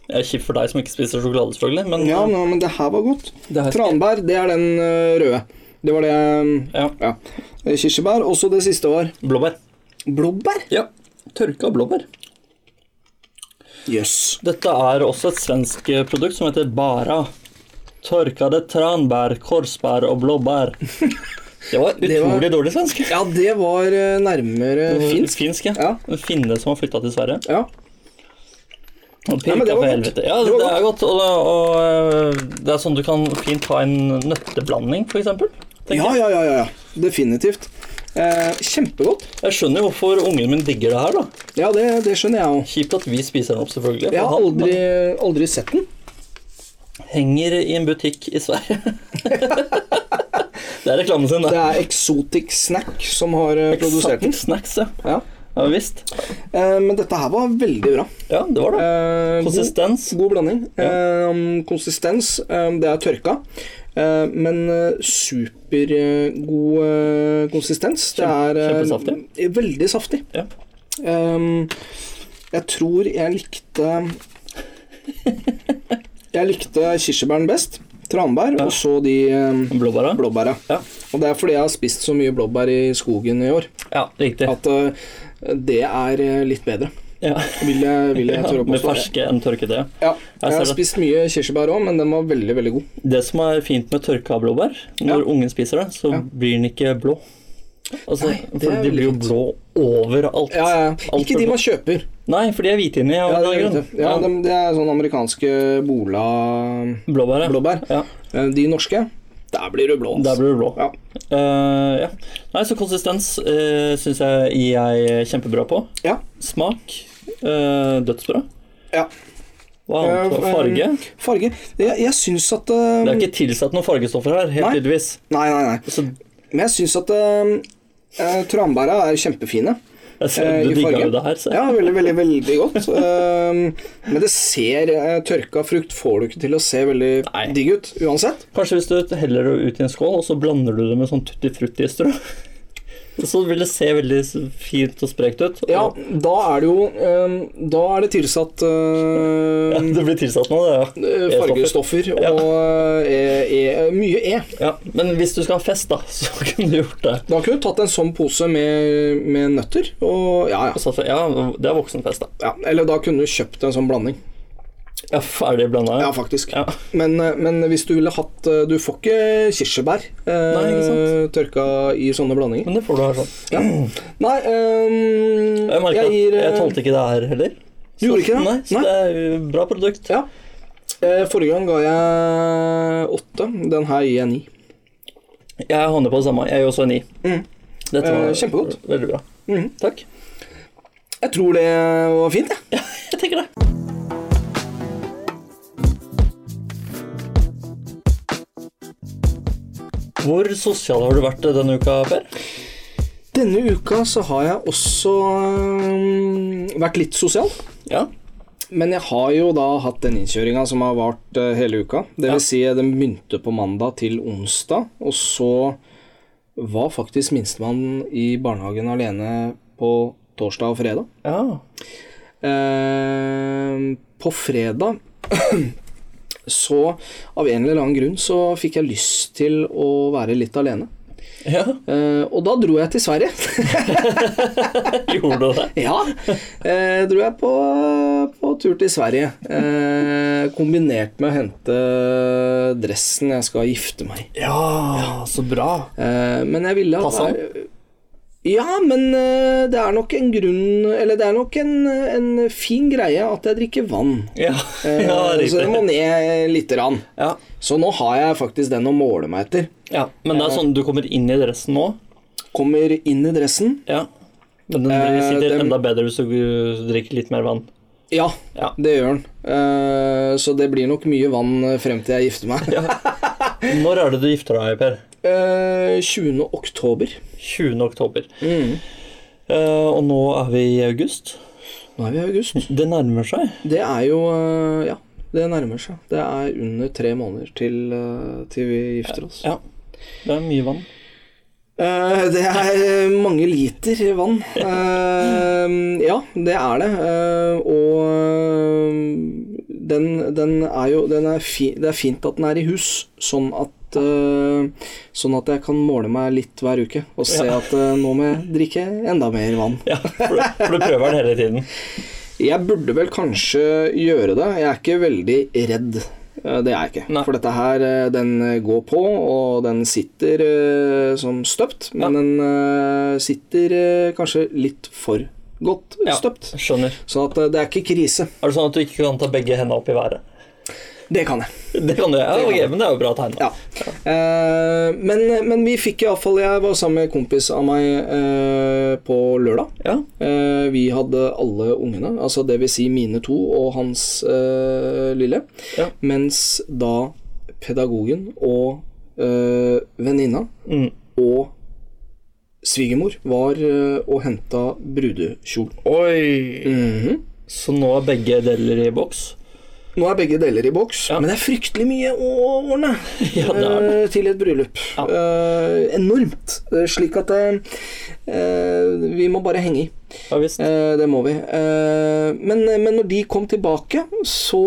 Speaker 2: Jeg er kjip for deg som ikke spiser sjokolade, selvfølgelig, men
Speaker 1: Ja, nå, men det her var godt.
Speaker 2: Det her-
Speaker 1: Tranbær, det er den ø, røde. Det var det ø,
Speaker 2: ja.
Speaker 1: Ja. Kirsebær. Og så det siste var
Speaker 2: blåbær.
Speaker 1: blåbær.
Speaker 2: Ja, tørka blåbær.
Speaker 1: Jøss.
Speaker 2: Dette er også et svensk eh, produkt som heter Bara. Tørkede tranbær, korsbær og blåbær. Det var utrolig
Speaker 1: var-
Speaker 2: dårlig svensk.
Speaker 1: Ja, det var ø, nærmere
Speaker 2: Mm.
Speaker 1: finsk.
Speaker 2: Finsk, ja.
Speaker 1: Ja.
Speaker 2: En finne som har flytta til Sverige.
Speaker 1: Ja.
Speaker 2: Og
Speaker 1: Ja, men det
Speaker 2: pirka
Speaker 1: var
Speaker 2: for
Speaker 1: godt.
Speaker 2: helvete. Ja,
Speaker 1: Det
Speaker 2: det,
Speaker 1: var
Speaker 2: er godt. Og, og øh, det er sånn du kan fint ha en nøtteblanding, f.eks.
Speaker 1: Ja, ja, ja, ja, ja. Definitivt. Eh, kjempegodt.
Speaker 2: Jeg skjønner jo hvorfor ungen min digger det her. da
Speaker 1: Ja, det, det skjønner jeg òg.
Speaker 2: Kjipt at vi spiser den opp, selvfølgelig. for
Speaker 1: Jeg har
Speaker 2: han
Speaker 1: aldri, aldri sett den.
Speaker 2: Henger i en butikk i Sverige. det er reklamen sin,
Speaker 1: Det
Speaker 2: det.
Speaker 1: er Exotic Snack som har eh, produsert den.
Speaker 2: Exotic Snacks, ja.
Speaker 1: Ja.
Speaker 2: ja visst.
Speaker 1: Eh, men dette her var veldig bra.
Speaker 2: Ja, det var det.
Speaker 1: Eh, god,
Speaker 2: Konsistens.
Speaker 1: god blanding. Eh, konsistens, eh, det er tørka. Eh, men eh, supergod eh, konsistens. Det
Speaker 2: Kjempe-
Speaker 1: er eh,
Speaker 2: kjempesaftig.
Speaker 1: eh, veldig saftig.
Speaker 2: Ja.
Speaker 1: Eh, jeg tror jeg likte Jeg likte kirsebæren best. Tranbær, og så de eh,
Speaker 2: Blåbæra.
Speaker 1: blåbæra.
Speaker 2: Ja.
Speaker 1: Og det er fordi jeg har spist så mye blåbær i skogen i år,
Speaker 2: ja, riktig.
Speaker 1: at eh, det er eh, litt bedre,
Speaker 2: Ja.
Speaker 1: vil jeg, vil jeg tørre å
Speaker 2: med
Speaker 1: påstå.
Speaker 2: ferske enn tørkede.
Speaker 1: Ja,
Speaker 2: Jeg
Speaker 1: jeg
Speaker 2: ser
Speaker 1: har
Speaker 2: det.
Speaker 1: spist mye kirsebær òg, men den var veldig, veldig god.
Speaker 2: Det som er fint med tørka blåbær, når ungen spiser det, så blir den ikke blå. Altså,
Speaker 1: det
Speaker 2: for
Speaker 1: er
Speaker 2: de
Speaker 1: veldig
Speaker 2: blir jo blå overalt.
Speaker 1: Ja, ja.
Speaker 2: Alt
Speaker 1: Ikke
Speaker 2: for
Speaker 1: de
Speaker 2: blå.
Speaker 1: man kjøper.
Speaker 2: Nei, for de er hvite inni.
Speaker 1: Ja, det,
Speaker 2: av en
Speaker 1: er greit,
Speaker 2: grunn.
Speaker 1: det. ja,
Speaker 2: Ja,
Speaker 1: dem- det er sånne amerikanske bola-blåbær.
Speaker 2: Blåbær, ja. Ja,
Speaker 1: De norske, der blir du blå.
Speaker 2: der
Speaker 1: altså.
Speaker 2: blir du blå.
Speaker 1: Ja.
Speaker 2: Eh, ja. Nei, så konsistens uh, syns jeg gir jeg er kjempebra på.
Speaker 1: Ja.
Speaker 2: Smak eh, dødsbra.
Speaker 1: Ja.
Speaker 2: Hva annet?
Speaker 1: Eh, eh,
Speaker 2: Farge?
Speaker 1: Farge Jeg, jeg syns at
Speaker 2: Det
Speaker 1: eh,
Speaker 2: er ikke tilsatt noen fargestoffer her, helt
Speaker 1: Nei.
Speaker 2: tydeligvis.
Speaker 1: Nei, nei, nei.
Speaker 2: Så
Speaker 1: Men jeg syns at uh, tranbæra er kjempefine.
Speaker 2: jeg ser,
Speaker 1: Eh,
Speaker 2: altså, du
Speaker 1: i
Speaker 2: digga
Speaker 1: farge.
Speaker 2: jo det her, så.
Speaker 1: Ja, veldig, veldig, veldig godt. Ehm, men det ser eh, tørka frukt får du ikke til å se veldig
Speaker 2: Nei.
Speaker 1: digg ut uansett.
Speaker 2: Kanskje hvis du heller det ut i en skål, og så blander du det med sånn tutti frutti-strø. Så vil det se veldig fint og sprekt ut. og-
Speaker 1: Ja, da er det jo ehm, Da er det tilsatt
Speaker 2: Ja,
Speaker 1: eh,
Speaker 2: Det blir tilsatt noe, det.
Speaker 1: eh, fargestoffer
Speaker 2: Ja.
Speaker 1: og eh, e, e, mye E.
Speaker 2: Ja. ja. Men hvis du skal ha fest, da, så kunne du gjort det.
Speaker 1: Da kunne du tatt en sånn pose med, med nøtter. Og, ja, ja,
Speaker 2: Og så- Ja, det er voksenfest, da.
Speaker 1: ja. Eller da kunne du kjøpt en sånn blanding.
Speaker 2: Ja, Ferdig blanda.
Speaker 1: Ja, faktisk.
Speaker 2: Ja.
Speaker 1: Men, eh, men hvis du ville hatt eh, Du får ikke kirsebær eh,
Speaker 2: Nei, ikke
Speaker 1: tørka i sånne blandinger.
Speaker 2: Men det får du her sånn.
Speaker 1: Nei, ehm,
Speaker 2: Jeg merker
Speaker 1: jeg
Speaker 2: at
Speaker 1: gir
Speaker 2: jeg
Speaker 1: eh,
Speaker 2: tålte ikke det her heller.
Speaker 1: Du gjorde ikke det?
Speaker 2: Nei, så
Speaker 1: Nei.
Speaker 2: det er jo bra produkt.
Speaker 1: Ja. Eh, Forrige gang ga jeg åtte. Den her gir jeg ni.
Speaker 2: Jeg havner på det samme. Jeg gir også en ni.
Speaker 1: Mm.
Speaker 2: Dette var
Speaker 1: Eh, kjempegodt.
Speaker 2: veldig bra.
Speaker 1: Mhm.
Speaker 2: Takk.
Speaker 1: Jeg tror det var fint, jeg.
Speaker 2: Jeg tenker det. Hvor sosial har du vært denne uka, Per?
Speaker 1: Denne uka så har jeg også ehm, vært litt sosial.
Speaker 2: Ja.
Speaker 1: Men jeg har jo da hatt den innkjøringa som har vart eh, hele uka. Det vil
Speaker 2: Ja.
Speaker 1: si, eh, den begynte på mandag til onsdag, og så var faktisk minstemann i barnehagen alene på torsdag og fredag.
Speaker 2: ja.
Speaker 1: Eh, på fredag så av en eller annen grunn så fikk jeg lyst til å være litt alene.
Speaker 2: Ja,
Speaker 1: Eh, og da dro jeg til Sverige.
Speaker 2: gjorde du det?
Speaker 1: ja, eh, dro jeg på, på tur til Sverige. Eh, kombinert med å hente dressen jeg skal gifte meg i.
Speaker 2: Ja, så bra.
Speaker 1: Eh, men jeg ville
Speaker 2: Passa
Speaker 1: være- Ja, men eh, det er nok en grunn Eller det er nok en, en fin greie at jeg drikker vann.
Speaker 2: Ja,
Speaker 1: Eh,
Speaker 2: ja
Speaker 1: så det må
Speaker 2: riktig.
Speaker 1: ned lite grann.
Speaker 2: Ja.
Speaker 1: Så nå har jeg faktisk den å måle meg etter.
Speaker 2: ja, Men det er sånn du kommer inn i dressen nå.
Speaker 1: Kommer inn i dressen.
Speaker 2: Ja. Men den blir-
Speaker 1: Eh,
Speaker 2: sitter
Speaker 1: den-
Speaker 2: enda bedre hvis du drikker litt mer vann.
Speaker 1: Ja,
Speaker 2: Ja.
Speaker 1: det gjør den. Eh, så det blir nok mye vann frem til jeg gifter meg.
Speaker 2: Når er det du gifter deg, Per?
Speaker 1: Eh, 20. oktober.
Speaker 2: 20. oktober. Eh, og nå er vi i august.
Speaker 1: Nå er vi i august.
Speaker 2: Det nærmer seg.
Speaker 1: Det er jo eh, Ja, det nærmer seg. Det er under tre måneder til, eh, til vi gifter oss.
Speaker 2: Ja. Det er mye vann.
Speaker 1: Eh, det er eh, mange liter vann. Eh, ja, det er det. Eh, og eh, den, den er jo den er fi, Det er fint at den er i hus, sånn at eh, Sånn at jeg kan måle meg litt hver uke og se at eh, nå må jeg drikke enda mer vann.
Speaker 2: Ja, for, du- for du prøver den hele tiden.
Speaker 1: Jeg burde vel kanskje gjøre det. Jeg er ikke veldig redd. Eh, Det er jeg ikke.
Speaker 2: Nei.
Speaker 1: For dette her, eh, den eh, går på, og den sitter eh, som støpt. Men
Speaker 2: Ja.
Speaker 1: den eh, sitter eh, kanskje litt for godt
Speaker 2: Ja.
Speaker 1: støpt.
Speaker 2: Skjønner.
Speaker 1: Så at eh, det er ikke krise.
Speaker 2: Er det sånn at du ikke kan ta begge hendene opp i været?
Speaker 1: Det kan jeg.
Speaker 2: Det kan du. Ja,
Speaker 1: Det kan
Speaker 2: ok,
Speaker 1: jeg.
Speaker 2: men det er jo bra tegn. da.
Speaker 1: Ja. Eh, men, men vi fikk iallfall Jeg var sammen med en kompis av meg eh, på lørdag.
Speaker 2: Ja.
Speaker 1: Eh, vi hadde alle ungene, altså det vil si mine to og hans eh, lille.
Speaker 2: Ja.
Speaker 1: Mens da pedagogen og eh, venninna
Speaker 2: Mm.
Speaker 1: og svigermor var eh, og henta brudekjolen.
Speaker 2: Oi.
Speaker 1: Mhm.
Speaker 2: Mm. Så nå er begge deler i boks?
Speaker 1: Nå er begge deler i boks,
Speaker 2: Ja.
Speaker 1: men det er fryktelig mye å ordne
Speaker 2: Ja, det er
Speaker 1: eh, til et bryllup.
Speaker 2: Ja.
Speaker 1: Eh, enormt. Eh, Slik at eh, eh, vi må bare henge i.
Speaker 2: Ja visst.
Speaker 1: Eh, det må vi. Eh, men, men når de kom tilbake, så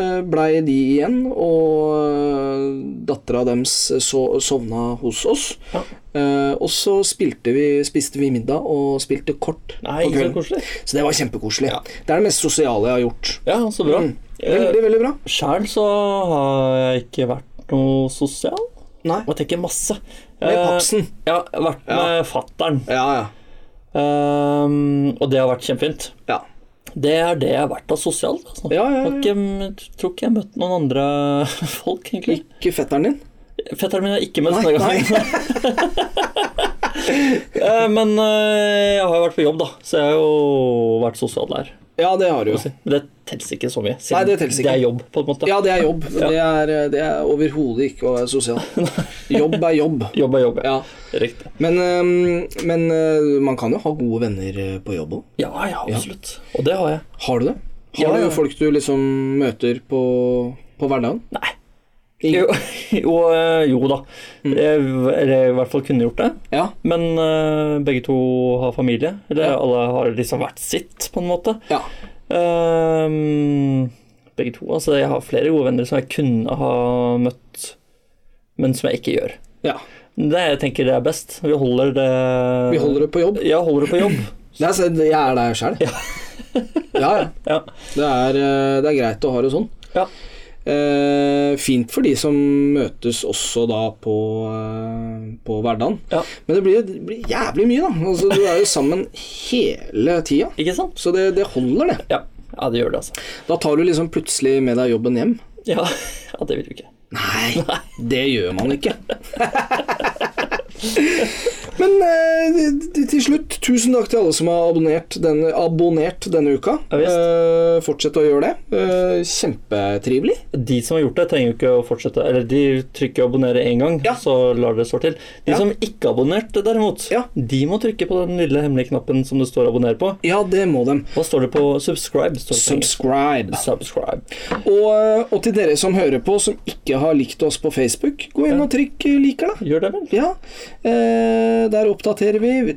Speaker 1: eh, blei de igjen, og eh, dattera deres så, sovna hos oss.
Speaker 2: Ja.
Speaker 1: Eh, og så spilte vi, spiste vi middag og spilte kort
Speaker 2: Nei,
Speaker 1: på
Speaker 2: ikke så
Speaker 1: kvelden.
Speaker 2: koselig.
Speaker 1: Så det var kjempekoselig.
Speaker 2: Ja.
Speaker 1: Det er det mest sosiale jeg har gjort.
Speaker 2: Ja, så bra.
Speaker 1: Mm.
Speaker 2: Eh,
Speaker 1: Veldig, veldig bra.
Speaker 2: Sjæl så har jeg ikke vært noe sosial.
Speaker 1: Nei.
Speaker 2: Jeg tenker masse.
Speaker 1: Med
Speaker 2: Eh,
Speaker 1: papsen.
Speaker 2: Ja, jeg har vært med fattern.
Speaker 1: Ja, ja.
Speaker 2: Ehm, og det har vært kjempefint.
Speaker 1: Ja.
Speaker 2: Det er det jeg har vært av sosialt. Altså.
Speaker 1: Ja, ja, ja.
Speaker 2: Jeg har ikke, jeg tror ikke jeg har møtt noen andre folk, egentlig.
Speaker 1: Ikke fetteren din?
Speaker 2: Fetteren min er ikke møtt
Speaker 1: Nei,
Speaker 2: denne gangen. Eh, Men eh, jeg har jo vært på jobb, da, så jeg har jo vært sosiallærer.
Speaker 1: Ja, det har du jo.
Speaker 2: Men det teller ikke så mye, siden
Speaker 1: Nei, det teller ikke.
Speaker 2: er jobb, på en måte.
Speaker 1: Ja, det er jobb. Det er, eh, det er overhodet ikke å være sosial. Jobb er jobb.
Speaker 2: Jobb er jobb, ja.
Speaker 1: Ja.
Speaker 2: Riktig.
Speaker 1: Men, øhm, men øh, man kan jo ha gode venner øh, på jobb òg.
Speaker 2: Ja, ja, absolutt. Og det har jeg.
Speaker 1: Har du det? Har
Speaker 2: Ja, ja.
Speaker 1: du folk du liksom møter på, på hverdagen?
Speaker 2: Nei.
Speaker 1: Ingen?
Speaker 2: Jo, jo, eh, jo da.
Speaker 1: Mm.
Speaker 2: Jeg, eller jeg i hvert fall kunne gjort det.
Speaker 1: Ja.
Speaker 2: Men eh, begge to har familie.
Speaker 1: Ja.
Speaker 2: Eller alle har liksom hvert sitt, på en måte.
Speaker 1: ja.
Speaker 2: Ehm, begge to. Altså, jeg har flere gode venner som jeg kunne ha møtt, men som jeg ikke gjør.
Speaker 1: ja.
Speaker 2: Det jeg tenker det er best. Vi holder det
Speaker 1: Vi holder det på jobb.
Speaker 2: Ja, holder det på jobb.
Speaker 1: Det er, så- jeg er der sjøl. Ja, ja.
Speaker 2: ja.
Speaker 1: Det er, øh, det er greit å ha det sånn.
Speaker 2: ja.
Speaker 1: Eh, fint for de som møtes også da på, eh, på hverdagen.
Speaker 2: Ja.
Speaker 1: Men det blir, det blir jævlig mye, da. Altså, du er jo sammen hele tida.
Speaker 2: Ikke sant?
Speaker 1: Så det, det holder, det.
Speaker 2: Ja. ja, det gjør det, altså.
Speaker 1: Da tar du liksom plutselig med deg jobben hjem.
Speaker 2: Ja, ja det vil du ikke.
Speaker 1: Nei, det gjør man ikke. Men eh, til- til slutt, tusen takk til alle som har abonnert denne, abonnert denne uka.
Speaker 2: Ja, visst.
Speaker 1: Eh, fortsett å gjøre det. Eh, kjempetrivelig.
Speaker 2: De som har gjort det, trenger jo ikke å fortsette. Eller de trykker 'abonnere' én gang,
Speaker 1: Ja.
Speaker 2: så lar det stå til. De
Speaker 1: Ja.
Speaker 2: som ikke har abonnert, derimot,
Speaker 1: Ja.
Speaker 2: de må trykke på den lille hemmelige knappen som det står 'abonner' på.
Speaker 1: Ja, det må dem.
Speaker 2: Hva står det på 'subscribe'? Står det på engelsk.
Speaker 1: Subscribe.
Speaker 2: Subscribe.
Speaker 1: Og, og til dere som hører på, som ikke har likt oss på Facebook, gå inn og trykk eh, 'liker', da.
Speaker 2: Gjør det, vel.
Speaker 1: Ja, eh, der oppdaterer vi.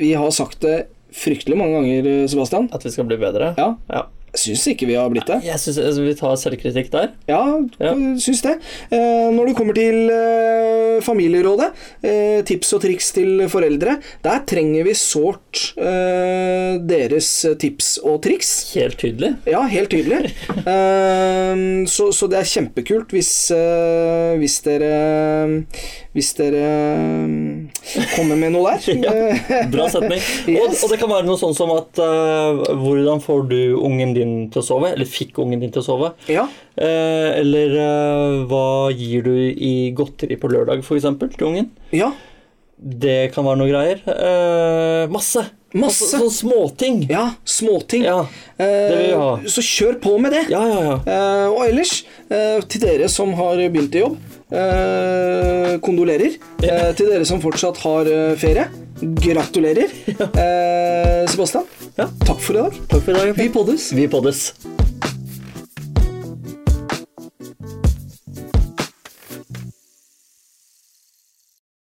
Speaker 1: Vi har sagt det fryktelig mange ganger, eh, Sebastian.
Speaker 2: At vi skal bli bedre?
Speaker 1: Ja,
Speaker 2: Ja.
Speaker 1: syns ikke vi har blitt det.
Speaker 2: Jeg syns altså, vi tar selvkritikk der.
Speaker 1: Ja,
Speaker 2: Ja.
Speaker 1: syns det. Eh, når du kommer til eh, Familierådet, eh, tips og triks til foreldre, der trenger vi sårt eh, deres tips og triks.
Speaker 2: Helt tydelig.
Speaker 1: Ja, helt tydelig. Ehm, så, så det er kjempekult hvis, eh, hvis dere Hvis dere komme med noe der.
Speaker 2: Bra setning. Og,
Speaker 1: Yes.
Speaker 2: og det kan være noe sånn som at eh, Hvordan får du ungen din til å sove? Eller fikk ungen din til å sove?
Speaker 1: Ja.
Speaker 2: Eh, eller eh, hva gir du i godteri på lørdag, f.eks. til ungen?
Speaker 1: ja.
Speaker 2: Det kan være noe greier. Eh, masse!
Speaker 1: Masse.
Speaker 2: Altså, sånne småting.
Speaker 1: Ja, småting.
Speaker 2: Ja.
Speaker 1: Eh,
Speaker 2: vil vi ha.
Speaker 1: så kjør på med det.
Speaker 2: ja, ja, ja.
Speaker 1: Eh, og ellers, eh, til dere som har begynt i jobb, eh, kondolerer. Eh, til dere som fortsatt har eh, ferie, gratulerer. Eh, Sebastian,
Speaker 2: Ja.
Speaker 1: takk for i dag.
Speaker 2: Takk for i dag.
Speaker 1: Vi poddes.
Speaker 2: Vi poddes.